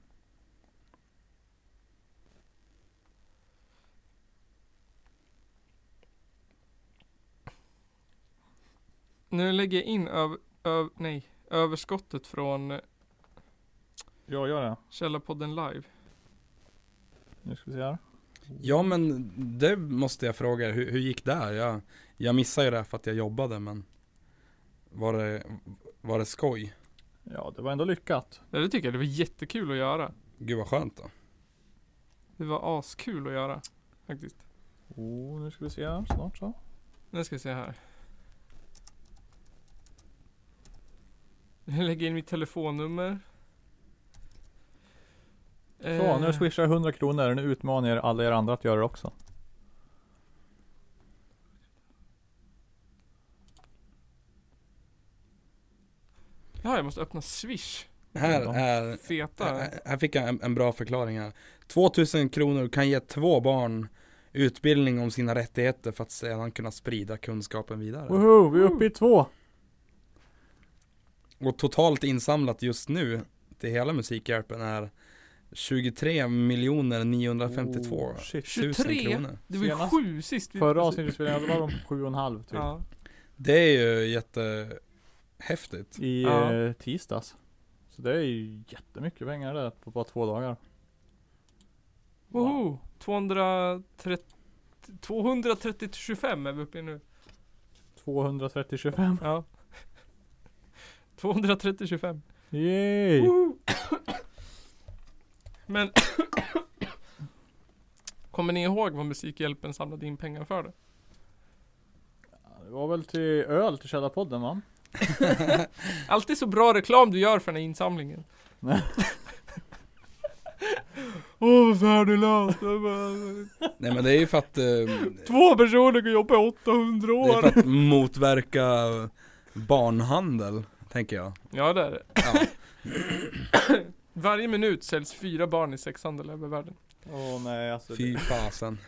B: Nu lägger jag in öv, öv, nej, överskottet från eh,
A: Jag gör det.
B: Källarpodden live.
A: Nu ska vi se här.
C: Ja men det måste jag fråga, er. hur, hur gick det? här? Jag, jag missade ju det här för att jag jobbade men var det, var det skoj?
A: Ja, det var ändå lyckat.
B: Ja, det tycker jag. Det var jättekul att göra.
C: Gud vad skönt då
B: Det var askul att göra faktiskt.
A: Oh, nu ska vi se här snart så.
B: Nu ska vi se här. Jag lägger in mitt telefonnummer.
A: Så,
B: Eh,
A: nu swishar jag 100 kronor. Nu utmanar jag alla er andra att göra det också.
B: Ja, jag måste öppna Swish.
C: Här är
B: Feta.
C: Här här fick jag en, en bra förklaring här. 2000 kronor kan ge två barn utbildning om sina rättigheter för att sedan kunna sprida kunskapen vidare.
A: Woho, vi är uppe i två!
C: Och totalt insamlat just nu till hela Musikhjälpen är 23 miljoner 952
A: Oh, shit.
C: 000
B: 23?
C: kronor.
B: Det var ju
A: Senast-
B: sju sist. vi-
A: Förra avsnittet spelade jag, då var de på 7,5 typ.
B: Ja.
C: Det är ju jättehäftigt.
A: I
B: Ja.
A: eh, tisdags. Så det är ju jättemycket pengar det på bara två dagar.
B: Woho! 230... 230-25 är vi uppe i nu.
A: 230-25.
B: Ja. 230-25.
A: Yay!
B: Woho! Men... Kommer ni ihåg vad Musikhjälpen samlade in pengar för? Då?
A: Det var väl till öl till Källarpodden va?
B: Alltid så bra reklam du gör för den här insamlingen.
A: Nej.
B: Åh, oh, värdelöst. Det är bara-
C: Nej men det är ju för att, eh, det
B: Två personer kan jobba i 800
C: är för
B: år.
C: att motverka barnhandel, tänker jag.
B: Ja, det är det.
C: Ja.
B: Varje minut säljs fyra barn i sexhandel över världen.
A: Åh nej alltså.
C: Fy
A: Det,
C: fasen.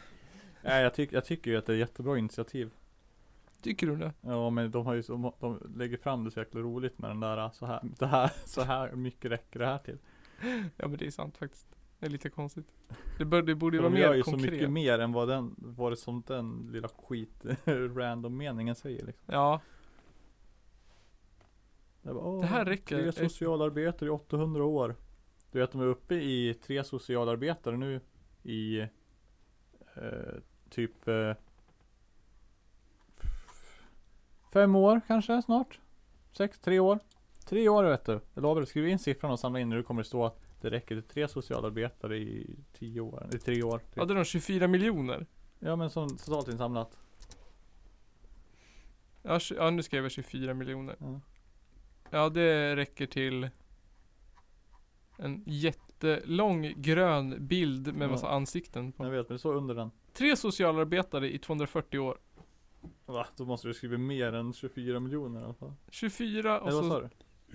A: nej, jag, tyck, jag tycker ju att det är jättebra initiativ.
B: Tycker du det?
A: Ja men de har ju så, de lägger fram det så jäkla roligt med den där så här, det här, så här mycket räcker det här till.
B: Ja, men det är sant faktiskt. Det är lite konstigt. Det, bör, det borde ju vara
A: De gör
B: mer
A: ju så mycket
B: konkret.
A: mer än vad den, vad det som den lilla skit random meningen säger liksom.
B: Ja,
A: Jag bara, "Åh,
B: Det här
A: Tre
B: räcker."
A: socialarbetare i 800 år. Du vet de är uppe i tre socialarbetare nu i eh, typ eh, fem år kanske snart. Sex, tre år. Tre år vet du. Jag lovar, skriv in siffran och samla in när det kommer det stå att det räcker till tre socialarbetare i tio år, i tre år. Typ.
B: hade de 24 miljoner?
A: Ja men som totalt insamlat.
B: Ja, tj- ja, nu skrev jag 24 miljoner.
A: Ja.
B: Ja, det räcker till en jättelång grön bild med
A: Ja.
B: massa ansikten på.
A: Jag vet men det står under den.
B: Tre socialarbetare i 240 år.
A: Va? Då måste du skriva mer än 24 miljoner i alla fall.
B: 24 och,
A: Eller vad sa
B: så,
A: du?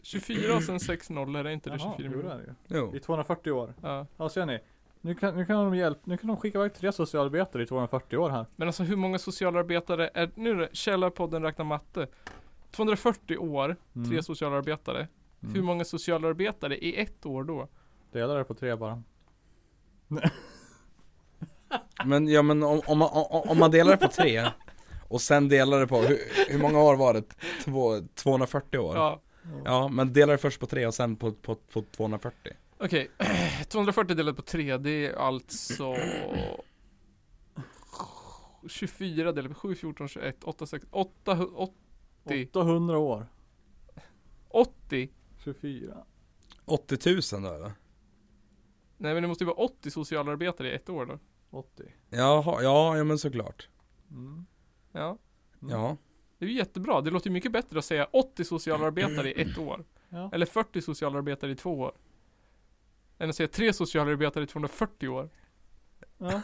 B: 24 och sen 6 nollor, är inte det 24
A: jo, det
B: miljoner?
A: är det ju.
C: Jo.
A: I 240 år.
B: Ja.
A: Ja ser ni. Nu kan, nu kan de hjälp, nu kan de skicka iväg tre socialarbetare i 240 år här.
B: Men alltså hur många socialarbetare är, nu är det Källarpodden räknar matte. 240 år,
A: Mm.
B: tre socialarbetare.
A: Mm.
B: Hur många socialarbetare i ett år då?
A: Dela det på tre bara.
C: Men ja men om, om, man- om, om man delar det på tre och sen delar det på, hur, hur många år var det? Två, 240 år? Ja.
B: Ja,
C: men delar det först på tre och sen på, på, på 240
B: okej. 240 delat på 3, det är alltså 24 delat på 7, 14, 21, 8, 6, 8, 80,
A: 800 år.
B: 80.
A: 24.
C: 80 000 då eller?
B: Nej men det måste ju vara 80 socialarbetare i ett år då.
A: 80.
C: Jaha, ja, ja men såklart
A: Mm.
B: Ja.
C: Ja,
B: Det är ju jättebra. Det låter ju mycket bättre att säga 80 socialarbetare i ett år.
A: Ja.
B: Eller 40 socialarbetare i två år. Än att säga 3 socialarbetare i 240 år.
A: Ja.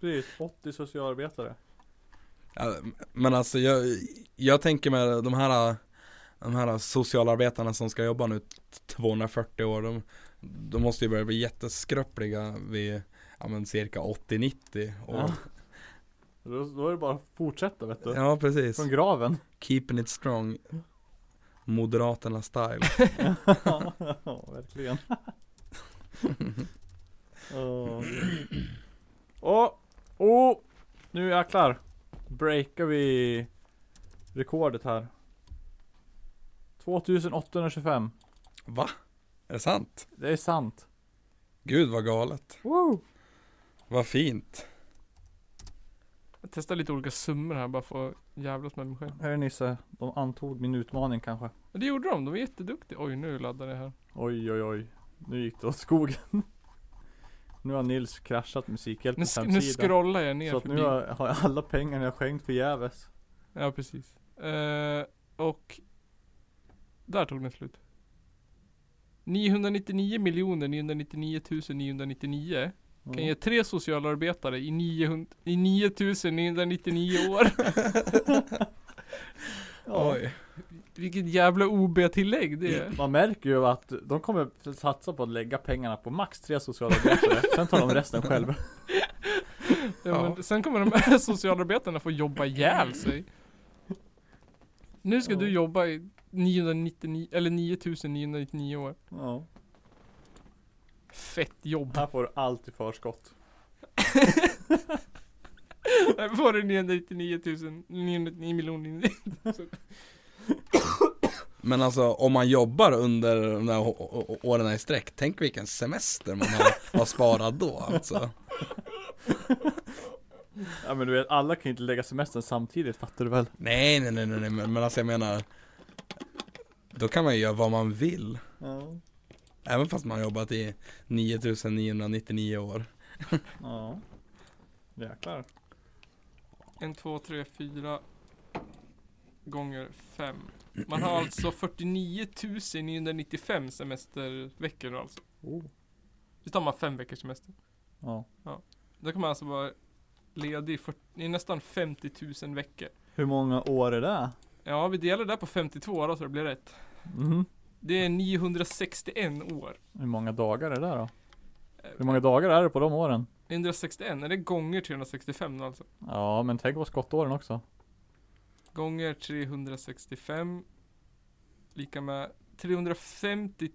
A: Precis. 80 socialarbetare.
C: Ja, men alltså jag, jag tänker med de här de här socialarbetarna som ska jobba nu 240 år, de, de måste ju börja bli jätteskröpliga vid, ja men cirka 80-90 år.
A: Ja. Då, då är det bara att fortsätta vet du.
C: ja precis.
A: Från graven.
C: Keeping it strong Moderaterna style
A: ja, verkligen. Åh, gud. Åh, åh, nu jäklar. Breakar vi rekordet här. 2825.
C: Va? Är det sant?
A: Det är sant.
C: Gud vad galet
A: Woo!
C: Vad fint
B: Jag testar lite olika summor här bara för att jävlas med mig själv.
A: Här är Nisse. De antog min utmaning kanske.
B: Och det gjorde de. De var jätteduktiga. Oj, nu laddar det här.
A: Oj, oj, oj. Nu gick det åt skogen. nu har Nils kraschat
B: Nu,
A: Musikhjälpens
B: sk- nu
A: hemsida.
B: scrollar jag ner
A: Så att
B: förbi.
A: nu har har jag alla pengarna jag skänkt förgäves.
B: Ja, precis. Eh, och där tog den slut. 999 miljoner 999 999
A: Mm.
B: kan ge tre socialarbetare i, 900, i 9999 år.
A: Ja.
C: Oj.
B: Vilket jävla OB-tillägg det är.
A: Man märker ju att de kommer satsa på att lägga pengarna på max tre socialarbetare. Sen tar de resten själva.
B: Ja, men sen kommer de här socialarbetarna få jobba ihjäl sig. Nu ska
A: Ja.
B: du jobba i 999, eller 9999 år.
A: Ja.
B: Fett jobb.
A: Här får du allt i förskott.
B: Här får du 999 000, 999 miljoner.
C: Men alltså om man jobbar under de där å- å- å- åren i sträck, tänk vilken semester man har, har sparat då alltså.
A: Ja men du vet, alla kan ju inte lägga semestern samtidigt fattar du väl?
C: Nej, nej, nej, nej, nej, men men alltså jag menar, då kan man ju göra vad man vill.
A: Ja.
C: Även fast man har jobbat i 9999 år.
A: Ja. Jäklar.
B: En, två, tre, fyra gånger fem. Man har alltså 49 995 semesterveckor då alltså.
A: Oh.
B: Visst har man fem veckors semester?
A: Ja.
B: Då kan man alltså vara ledig i, 40, i nästan 50 000 veckor.
A: Hur många år är det?
B: Ja, vi delar det där på 52 då så det blir rätt.
A: Mhm.
B: Det är 961 år.
A: Hur många dagar är det då?
B: Eh,
A: Hur många dagar är det på de åren?
B: 961, är det gånger 365 då alltså?
A: Ja men tänk på skottåren också.
B: Gånger 365 Lika med 350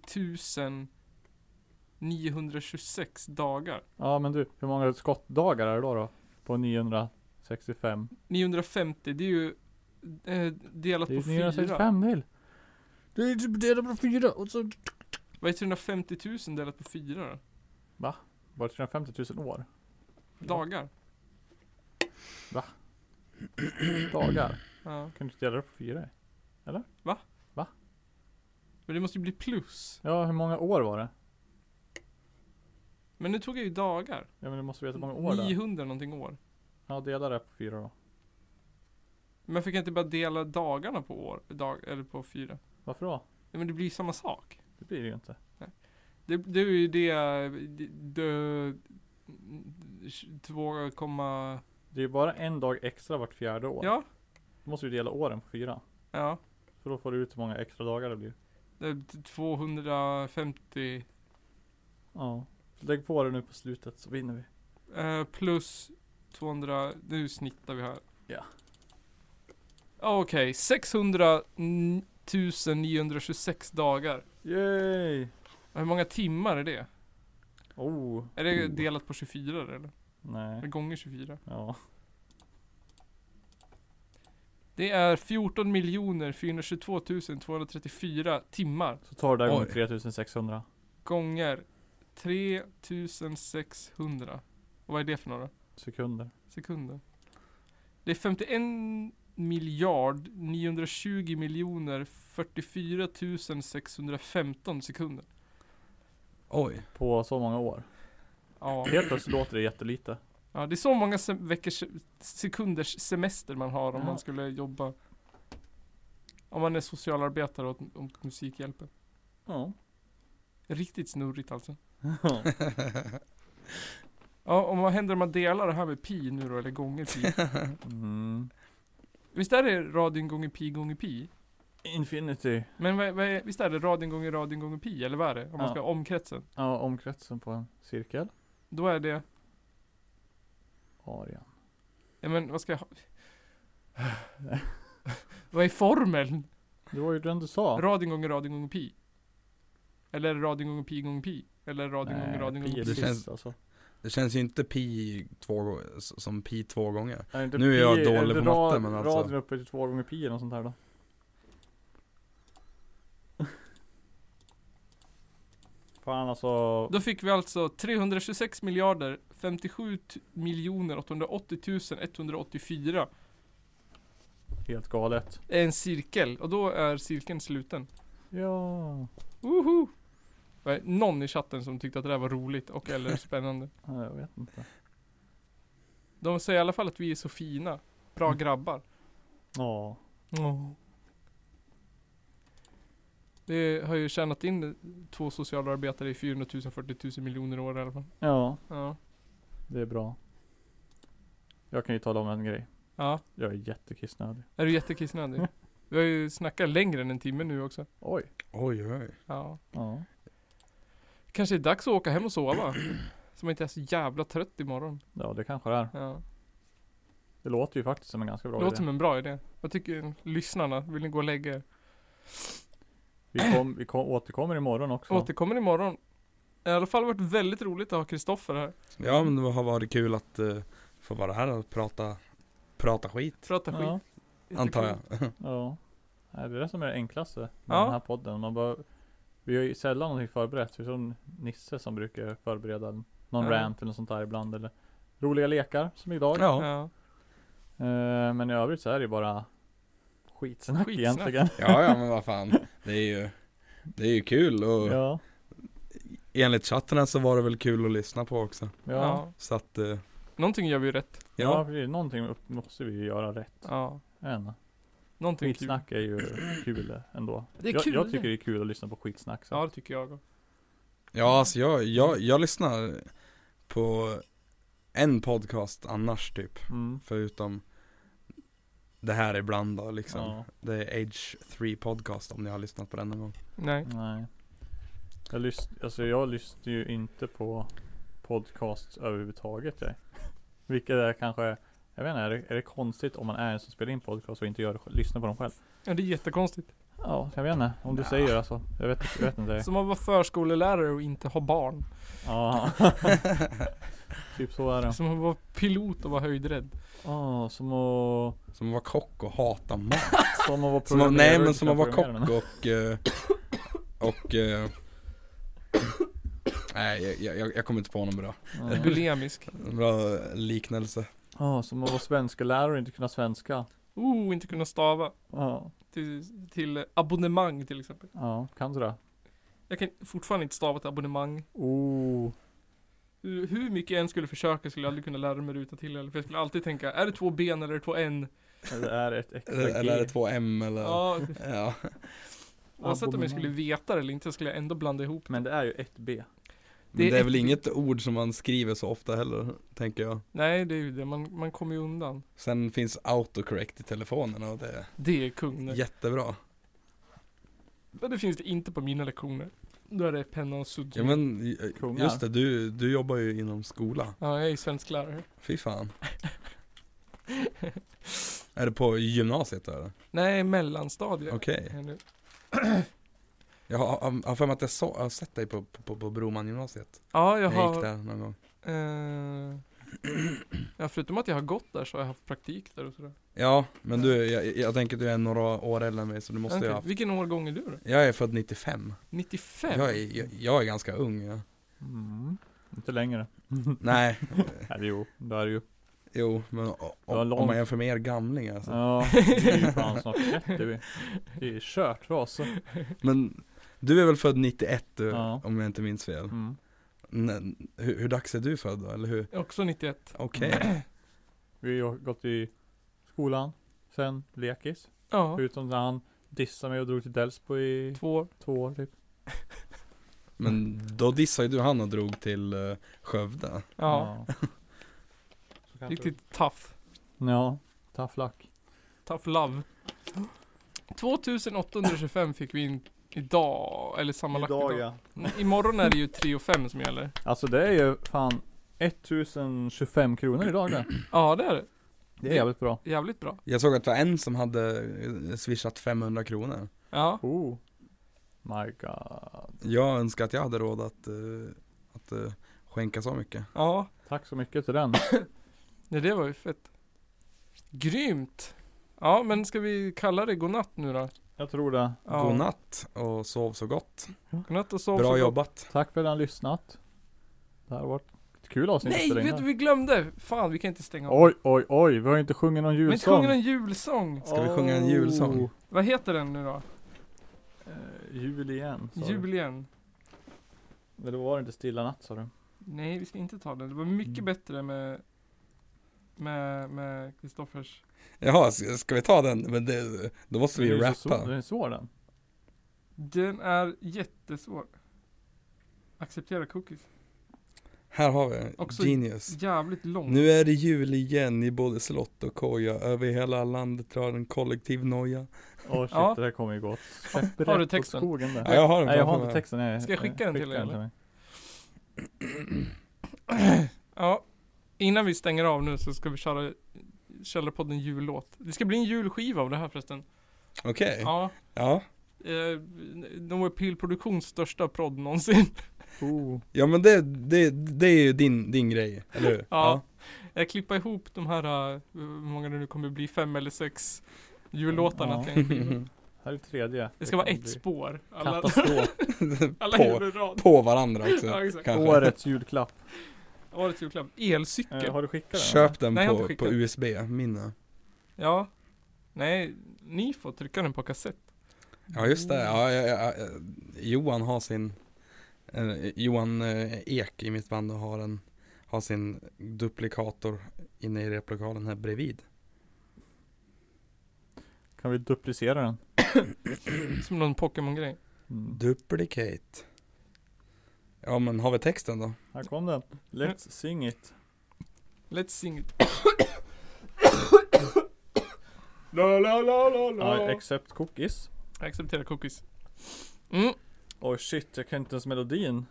B: 926 dagar
A: Ja men du, hur många skottdagar är det då? då? På 965?
B: 950 det är ju eh, Delat
A: Det är
B: på
A: ju
B: 4
A: 965 mil. Det är ju delat på fyra och så...
B: Vad är 350 000 delat på 4 då?
A: Bara 350 000 år?
B: Dagar?
A: Dagar?
B: Ja.
A: Kan du inte dela det på fyra?
B: Men det måste ju bli plus
A: Ja, hur många år var det?
B: Men nu tog jag ju dagar
A: Ja men du måste veta hur många år det är.
B: 900 någonting år
A: Ja, dela det på fyra då.
B: Men fick jag inte bara dela dagarna på år? Dag, eller på 4?
A: Varför då?
B: Ja, men det blir ju samma sak
A: Det blir det ju inte.
B: Det, det är ju det, det, det 2,
A: Det är ju bara en dag extra vart fjärde år.
B: ja,
A: Då måste du dela åren på fyra.
B: ja,
A: För då får du ut hur många extra dagar det blir.
B: det är 250
A: Ja. Lägg på det nu på slutet så vinner vi.
B: eh, plus 200, nu snittar vi här.
A: Ja.
B: Ja, Okej, 600 926 dagar.
A: Yay!
B: Hur många timmar är det?
A: Oh.
B: Är det
C: Oh.
B: delat på 24 eller? Eller
A: Nej.
B: gånger 24?
A: Ja.
B: Det är 14 422 234 timmar.
A: Så tar du det där gånger
C: Oj.
A: 3600.
B: gånger 3600. Och vad är det för några
A: Sekunder.
B: sekunder? Det är 51 miljard 920 miljoner 44 615 sekunder.
C: Oj.
A: På så många år.
B: Ja,
A: Helt plötsligt låter det jättelite.
B: ja det är så många se- veckors, sekunders semester man har om
A: Ja.
B: man skulle jobba om man är socialarbetare åt, åt Musikhjälpen.
A: Ja.
B: Riktigt snurrigt alltså. Ja, och vad händer om man delar det här med pi nu då, eller gånger pi?
A: Mm.
B: Visst är det radien gånger pi gånger pi?
A: Infinity.
B: Men vad, vad är, visst är det radien gånger radien gånger pi, eller vad är det? Om man
A: Ja.
B: ska ha omkretsen.
A: Ja, omkretsen på en cirkel.
B: Då är det,
A: Arean.
B: ja men vad ska jag ha? vad är formeln?
A: Det var ju den du sa.
B: Radien gånger radien gånger pi. Eller radien gånger pi gånger pi. Eller radien gånger radien
A: pi
B: gånger
A: är
B: pi.
C: Det
A: sist
C: känns-
A: alltså.
C: Det känns ju inte pi två, gånger- som pi två gånger.
A: Är det inte
C: Nu är jag
A: pi-
C: dålig
A: det
C: på matte,
A: rad-
C: men alltså-
A: Raden uppe till två gånger pi eller något sånt här då. Fan alltså.
B: Då fick vi alltså 326 miljarder 57 t- miljoner 880 tusen 184.
A: Helt galet.
B: Det är en cirkel och då är cirkeln sluten.
A: Ja.
B: Woho! Var det Någon i chatten som tyckte att det där var roligt och eller spännande.
A: Nej, Jag vet inte.
B: De säger i alla fall att vi är så fina. Bra grabbar.
A: Ja.
B: Det har ju tjänat in två socialarbetare i 400 000, 40 000 miljoner år i alla fall.
A: Ja,
B: Ja.
A: det är bra. Jag kan ju tala om en grej.
B: Ja.
A: Jag är jättekissnödig.
B: Är du jättekissnödig? Vi har ju snackat längre än en timme nu också.
A: Oj.
C: Oj, oj.
B: Ja.
A: Ja.
B: Kanske är det dags att åka hem och sova? Så man inte är så jävla trött imorgon.
A: Ja, det kanske det är.
B: Ja.
A: Det låter ju faktiskt som en ganska bra
B: Låter
A: idé.
B: som en bra idé. Vad tycker lyssnarna? Vill ni gå och lägga er?
A: Vi, kom, vi kom, återkommer imorgon också.
B: Återkommer imorgon. I alla fall varit väldigt roligt att ha Kristoffer här.
C: Ja men det har varit kul att eh, få vara här och prata, prata skit.
B: Prata skit.
A: ja,
B: Jättekul.
C: Antar jag.
A: ja. Nej, Det är det som är det enklaste med
B: Ja.
A: den här podden. Man bara, vi har ju sällan någonting förberett. Vi är som Nisse som brukar förbereda någon
B: Ja.
A: rant eller något sånt där ibland. Eller roliga lekar som idag.
C: Ja,
B: Ja.
A: Eh, men i övrigt så är det ju bara skitsnack,
B: Skitsnack.
A: egentligen.
C: ja, ja men vad fan. Det är ju, det är ju kul och
A: Ja,
C: enligt chatten här så var det väl kul att lyssna på också.
A: ja. ja.
B: ja.
C: Så att, eh,
B: Någonting gör vi ju rätt.
C: ja.
A: precis. Någonting upp- måste vi ju göra rätt
B: Ja.
A: än.
B: Någonting kul.
A: Skitsnack är ju kul ändå.
B: Det är
A: jag,
B: kul.
A: jag tycker det är kul att lyssna på skitsnack. Så.
B: Ja, det tycker jag.
C: Ja alltså jag, jag, jag lyssnar på en podcast annars typ.
A: Mm.
C: Förutom det här ibland då liksom.
A: Ja.
C: Det är Age 3 podcast om ni har lyssnat på den någon gång.
B: Nej.
A: Nej. Jag, lyssn- alltså jag lyssnar ju inte på podcast överhuvudtaget. Jag. Vilket är kanske, jag vet inte, är det, är det konstigt om man är en som spelar in podcast och inte gör, det- lyssnar på dem själv?
B: Ja, det är jättekonstigt.
A: Ja, jag vet inte. Om du säger alltså. Jag vet, jag vet inte.
B: Som att vara förskolelärare och inte ha barn.
A: Ja. typ så är det.
B: Som att vara pilot och vara höjdrädd.
A: Ja, som att...
C: Som att vara kock och hata mat.
A: Som att vara
C: Som att, nej
A: programmerare
C: men som att vara
A: utan programmerare.
C: kock och, eh, och eh, Nej jag- jag, jag, jag kommer inte på någon bra,
A: Ja.
B: Bulimisk.
C: bra liknelse.
A: Ja, som att vara svenska lärare och inte kunna svenska.
B: Oh, inte kunna stava.
A: Ja,
B: Till, till abonnemang till exempel.
A: ja kan du det?
B: Jag kan fortfarande inte stava till abonnemang.
A: Oh.
B: Hur hur mycket jag än skulle försöka skulle jag aldrig kunna lära mig ruta till eller för jag skulle alltid tänka, är det två ben eller är det två N?
A: Det är ett extra
C: Eller, eller är det
A: G.
C: två M eller?
B: Ja,
C: Ja.
B: oavsett om
A: Abonnemang.
B: jag skulle veta det eller inte skulle jag ändå blanda ihop.
A: Men det är ju ett B.
C: Men
B: Det är
C: det är
B: ett-
C: väl inget ord som man skriver så ofta heller, tänker jag.
B: Nej, det är ju det, man, man kommer ju undan.
C: Sen finns autocorrect i telefonen och det är
B: Det är kung nu.
C: jättebra.
B: Men det finns det inte på mina lektioner. Då är det penna och sudd.
C: Ja men, j-
A: Kungar.
C: just det, du, du jobbar ju inom skola.
B: Ja, jag är ju svensklärare.
C: Fy fan. är det på gymnasiet då eller?
B: Nej, mellanstadiet.
C: Okej.
B: är nu.
C: Jag har, har- har för mig att jag, så, jag har sett dig på, på, på Bromangymnasiet.
B: Ja, jag
C: Jag
B: har...
C: gick där någon gång.
B: Eh, ja, förutom att jag har gått där så har jag haft praktik där och sådär.
C: Ja, men du, jag, jag tänker att du är några år äldre än mig så du måste ju
B: Okej,
C: ha haft.
B: Vilken årgång är du då?
C: Jag är född 95.
B: 95?
C: Jag är, jag, jag är ganska ung. Ja.
A: Mm. Inte längre.
C: Nej,
A: Nej, det- jo, det är det ju.
C: jo, men o-
A: Det var
C: om, om
A: långt.
C: man jämför med er gamlingar. alltså. Så.
A: Ja, det är ju fan snart 30. vi. Det är kört för oss.
C: Men du är väl född 91 du,
A: Ja.
C: om jag inte minns fel?
A: Mm.
C: N- hur, hur dags är du född då, eller hur?
B: Också 91.
C: Okej.
A: Vi har gått i skolan, sen lekis.
B: Ja,
A: Förutom när han dissade mig och drog till Delsbo i
B: två år.
A: två år typ.
C: Men då dissade ju du han och drog till eh, Skövde.
B: Ja,
A: Så kanske-
B: riktigt tough.
A: Ja, tough luck.
B: Tough love. 2825 fick vi in idag, eller sammanlagt Nej, Imorgon är det ju 3 och 5 som gäller.
A: Alltså det är ju fan 1025 kronor idag det.
B: Ja, det är det.
A: Det är jävligt bra.
B: Jävligt bra.
C: Jag såg att det var en som hade eh, swishat 500 kronor.
B: Ja,
A: Oh. My god.
C: Jag önskar att jag hade råd att, eh, att eh, skänka så mycket.
B: ja.
A: Tack så mycket till den.
B: Nej, det var ju fett. Grymt. Ja, men ska vi kalla det godnatt nu då?
A: Jag tror det.
B: Ja.
C: Godnatt och sov så gott.
B: Godnatt och sov så
C: Bra
B: gott.
C: jobbat.
A: Tack för att ni har lyssnat. Det här har varit ett kul avsnitt. att
B: Nej,
A: spela in
B: vet
A: här.
B: du, vi glömde. Fan, vi kan inte stänga av.
A: Oj, oj, oj. Vi har inte sjungit någon
B: Men inte
A: julsång.
B: sjunga en julsång.
C: Ska vi sjunga en
A: Oh.
C: julsång?
B: Vad heter den nu då?
A: Eh, jul igen. sa du.
B: Jul igen.
A: Men då var det inte Stilla natt sa du.
B: Nej, vi ska inte ta den. Det var mycket
A: Mm.
B: bättre med med med Kristoffers.
C: Jaha, s- ska vi ta den? Men det, då måste vi ju
A: Den är så svår-
C: rappa.
A: Den är svår den.
B: Den är jättesvår. Acceptera cookies.
C: Här har vi
B: Också-
C: Genius.
B: Jävligt lång.
C: Nu är det jul igen i både slott och koja. Över hela landet drar en kollektiv noja.
A: Åh shit,
B: Ja.
A: det där kommer ju gått käpprätt
B: Har du
A: åt
B: texten?
A: skogen där.
C: Ja, jag har den
A: Nej jag har
C: framför
A: inte
C: mig.
A: texten. Nej,
B: Ska jag skicka den till dig, eller?
A: mig.
B: Ja. Innan vi stänger av nu så ska vi köra Källarpodden jullåt. Det ska bli en julskiva av det här förresten.
C: Okej. Ja.
B: Ja.
C: ja.
B: Eh, No Appeal Produktions största prodd någonsin.
A: Oh.
C: men det, det, det är ju din, din grej, eller hur?
B: Ja. Jag klippar ihop de här, eh, hur många det nu kommer bli, fem eller sex jullåtarna
A: Ja.
B: till en skiva.
A: Här är tredje.
B: Det ska vara
A: kommer
B: ett
A: bli
B: spår. Alla,
A: Katastrof.
B: alla
C: På.
B: huvudrad.
C: På varandra också.
B: Ja, exakt.
C: kanske.
A: Årets julklapp.
B: Årets julklapp.
A: Eh,
B: Elcykel.
A: har du skickat den? eller?
C: Köp den
B: Nej, jag har
C: på,
B: inte
C: på
B: skickat.
C: USB-minne.
B: Ja. Nej, ni får trycka den på kassett.
C: Ja just det, ja, ja, ja, ja. Johan har sin eh, Johan eh, Ek i mitt band och har, en, har sin duplikator inne i replokalen här bredvid.
A: Kan vi duplicera den?
B: Som någon Pokémon-grej.
A: Mm.
C: Duplicate. Ja men har vi texten då?
A: Här kom den. Let's sing it.
B: Let's sing it.
A: I accept cookies.
B: Jag accepterar cookies. Mm.
A: Oj shit, jag kan inte ens melodin.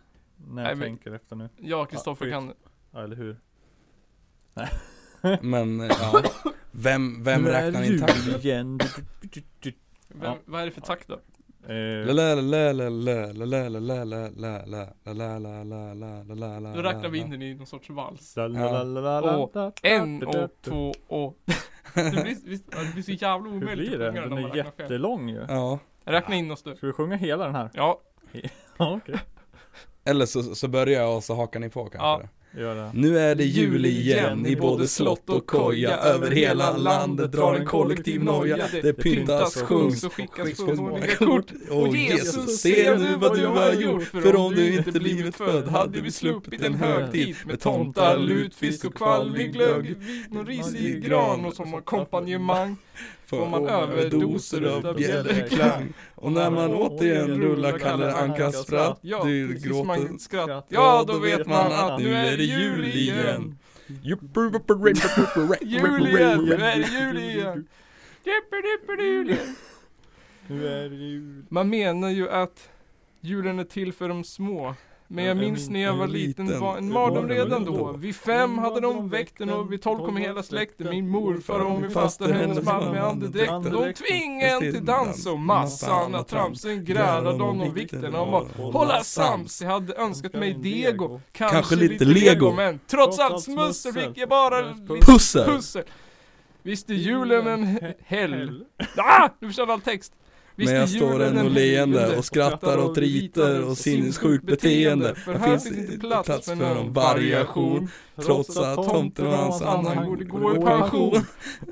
A: När jag
B: Nej, men-
A: tänker efter nu.
B: Jag och Kristoffer
A: Ja,
B: kan
A: Ja, eller hur?
C: Men eh, ja, vem, vem
A: Nu är
C: räknar
A: jul
C: in takten?
A: igen.
B: Vem,
A: Ja.
B: Vad är det för takt då?
A: Eh,
C: La la la la la la la la la la la la la la la la la la la la
B: Då räknar vi in den i någon sorts vals.
A: la, la, la, la, la, la,
B: Och
A: la, la,
B: En
A: la, la,
B: och två och... Det blir, visst, ja, det blir så jävla
A: Hur
B: omöjligt
A: blir det?
B: att sjunga den
A: Den
B: om man
A: är
B: räknar fel.
A: jättelång ju.
C: Ja,
B: Räkna in oss du.
A: Ska vi sjunga hela den här?
B: Ja,
A: Ja, okej.
C: eller så, så börjar jag och så hakar ni på kanske.
B: Ja.
C: då.
A: Gör det.
C: Nu är det jul igen i både slott och koja Över hela landet drar en kollektiv noja Det pyntas, sjungs
B: och skickas
C: skickas många
B: förmånliga
C: kort
B: kort
C: Åh Jesus, se nu vad du har gjort För om du inte blivit född hade vi sluppit en högtid Med tomtar, lutfisk och kvalmig glögg
B: vin och risig gran och som ackompanjemang
C: Får man överdoser av bjällerklang Och när man återigen rullar Kalle Ankas spratt
B: Ja,
C: dyr
B: precis som
C: gråten
B: man skratt Ja, då vet man att nu är det
C: jul igen.
B: Jul igen, nu är det jul igen Dippidippidu, jul.
A: Nu är det jul.
B: Man menar ju att julen är till för de små. Men
A: Ja,
B: jag
A: jag
B: minns när jag
C: minns-
B: var
C: jag
B: liten
C: liten.
B: var en
C: Det
B: mardröm
C: var det
B: redan
C: väl
B: då.
C: då.
B: Vid fem hade de väckt den och vid tolv kom hela släkten. Min morfar och min faster, hennes man med andedräkten. De tvingade en till dans och massa annat trams. Sen grälade de om vikten av att hålla sams. Jag hade önskat mig dego, kanske lite lego. Men trots allt smussel fick jag bara lite
C: Pussel!
B: pussel. Visst är julen en helg? Ah! Nu försvann all text. Visst
C: Men
B: är
C: jag står
B: julen
C: ändå
B: en
C: leende
B: helgdag
C: och skrattar åt riter och sinnessjukt beteende.
B: För
C: Här eh,
B: här finns inte plats för någon variation.
C: trots att tomten och hans anhang
B: borde gå i pension.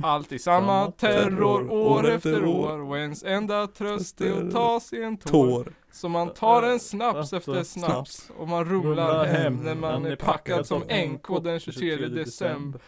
B: Alltid samma terror år efter år och ens enda tröst är att ta sig en tår.
C: Tår.
B: Så man tar en snaps efter snaps och man rumlar
A: Rumlar
B: Alltså, hem
A: hem
B: när man är packad som NK den 23 december.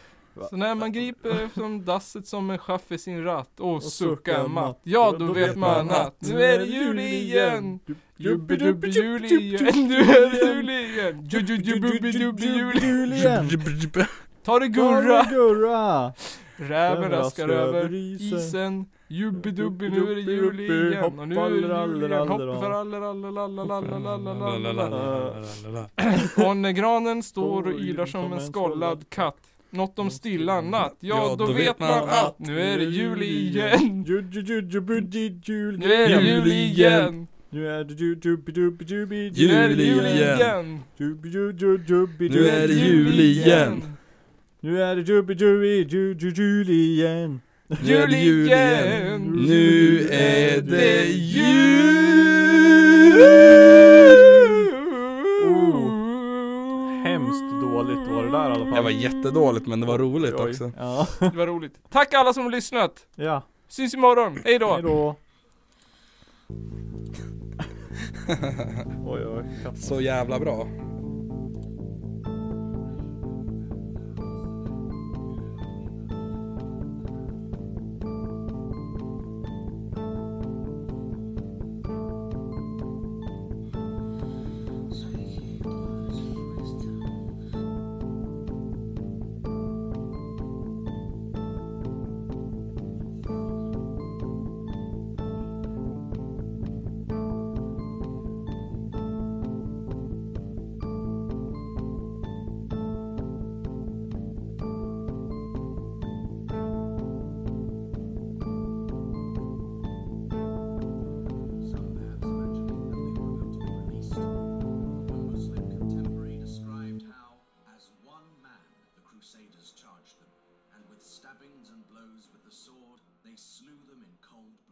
B: Så när man griper som dasset som en chef i sin ratt och, suckar matt, ja då vet man att nu är det jul igen! Jubbidubbi jul igen, nu är det jul igen! Jubbidubbi jul igen!
A: jul igen.
B: Ta det Gurra!
A: Gurra!
B: Räven raskar över isen Jubbidubbi nu är det jul igen och nu är det jul igen Hopp för alla Och när granen står och ylar som en skollad katt Något om stilla natt, ja då vet man att nu är det jul igen
A: Jul
B: Nu är det jul igen!
A: Nu är det ju- dubbi dubbi dubbi
B: Nu är det jul
C: Jul igen.
B: igen!
A: dubbi ju- ju- dubbi
C: Nu är det
A: dubbi.
C: jul igen.
A: Nu är det dubbi dubbi ju- ju- jul igen
C: Nu är det jul igen. Nu är det jul!
B: Oh.
A: Hemskt dåligt var det där i alla fall.
C: Det var jättedåligt men det var roligt
A: Oj.
C: också.
A: Ja,
B: Det var roligt. Tack alla som har lyssnat!
A: ja.
B: Syns imorgon, hej då!
A: hejdå Oj oj, katt.
C: Så jävla bra.
F: crusaders charged them, and with stabbings and blows with the sword, they slew them in cold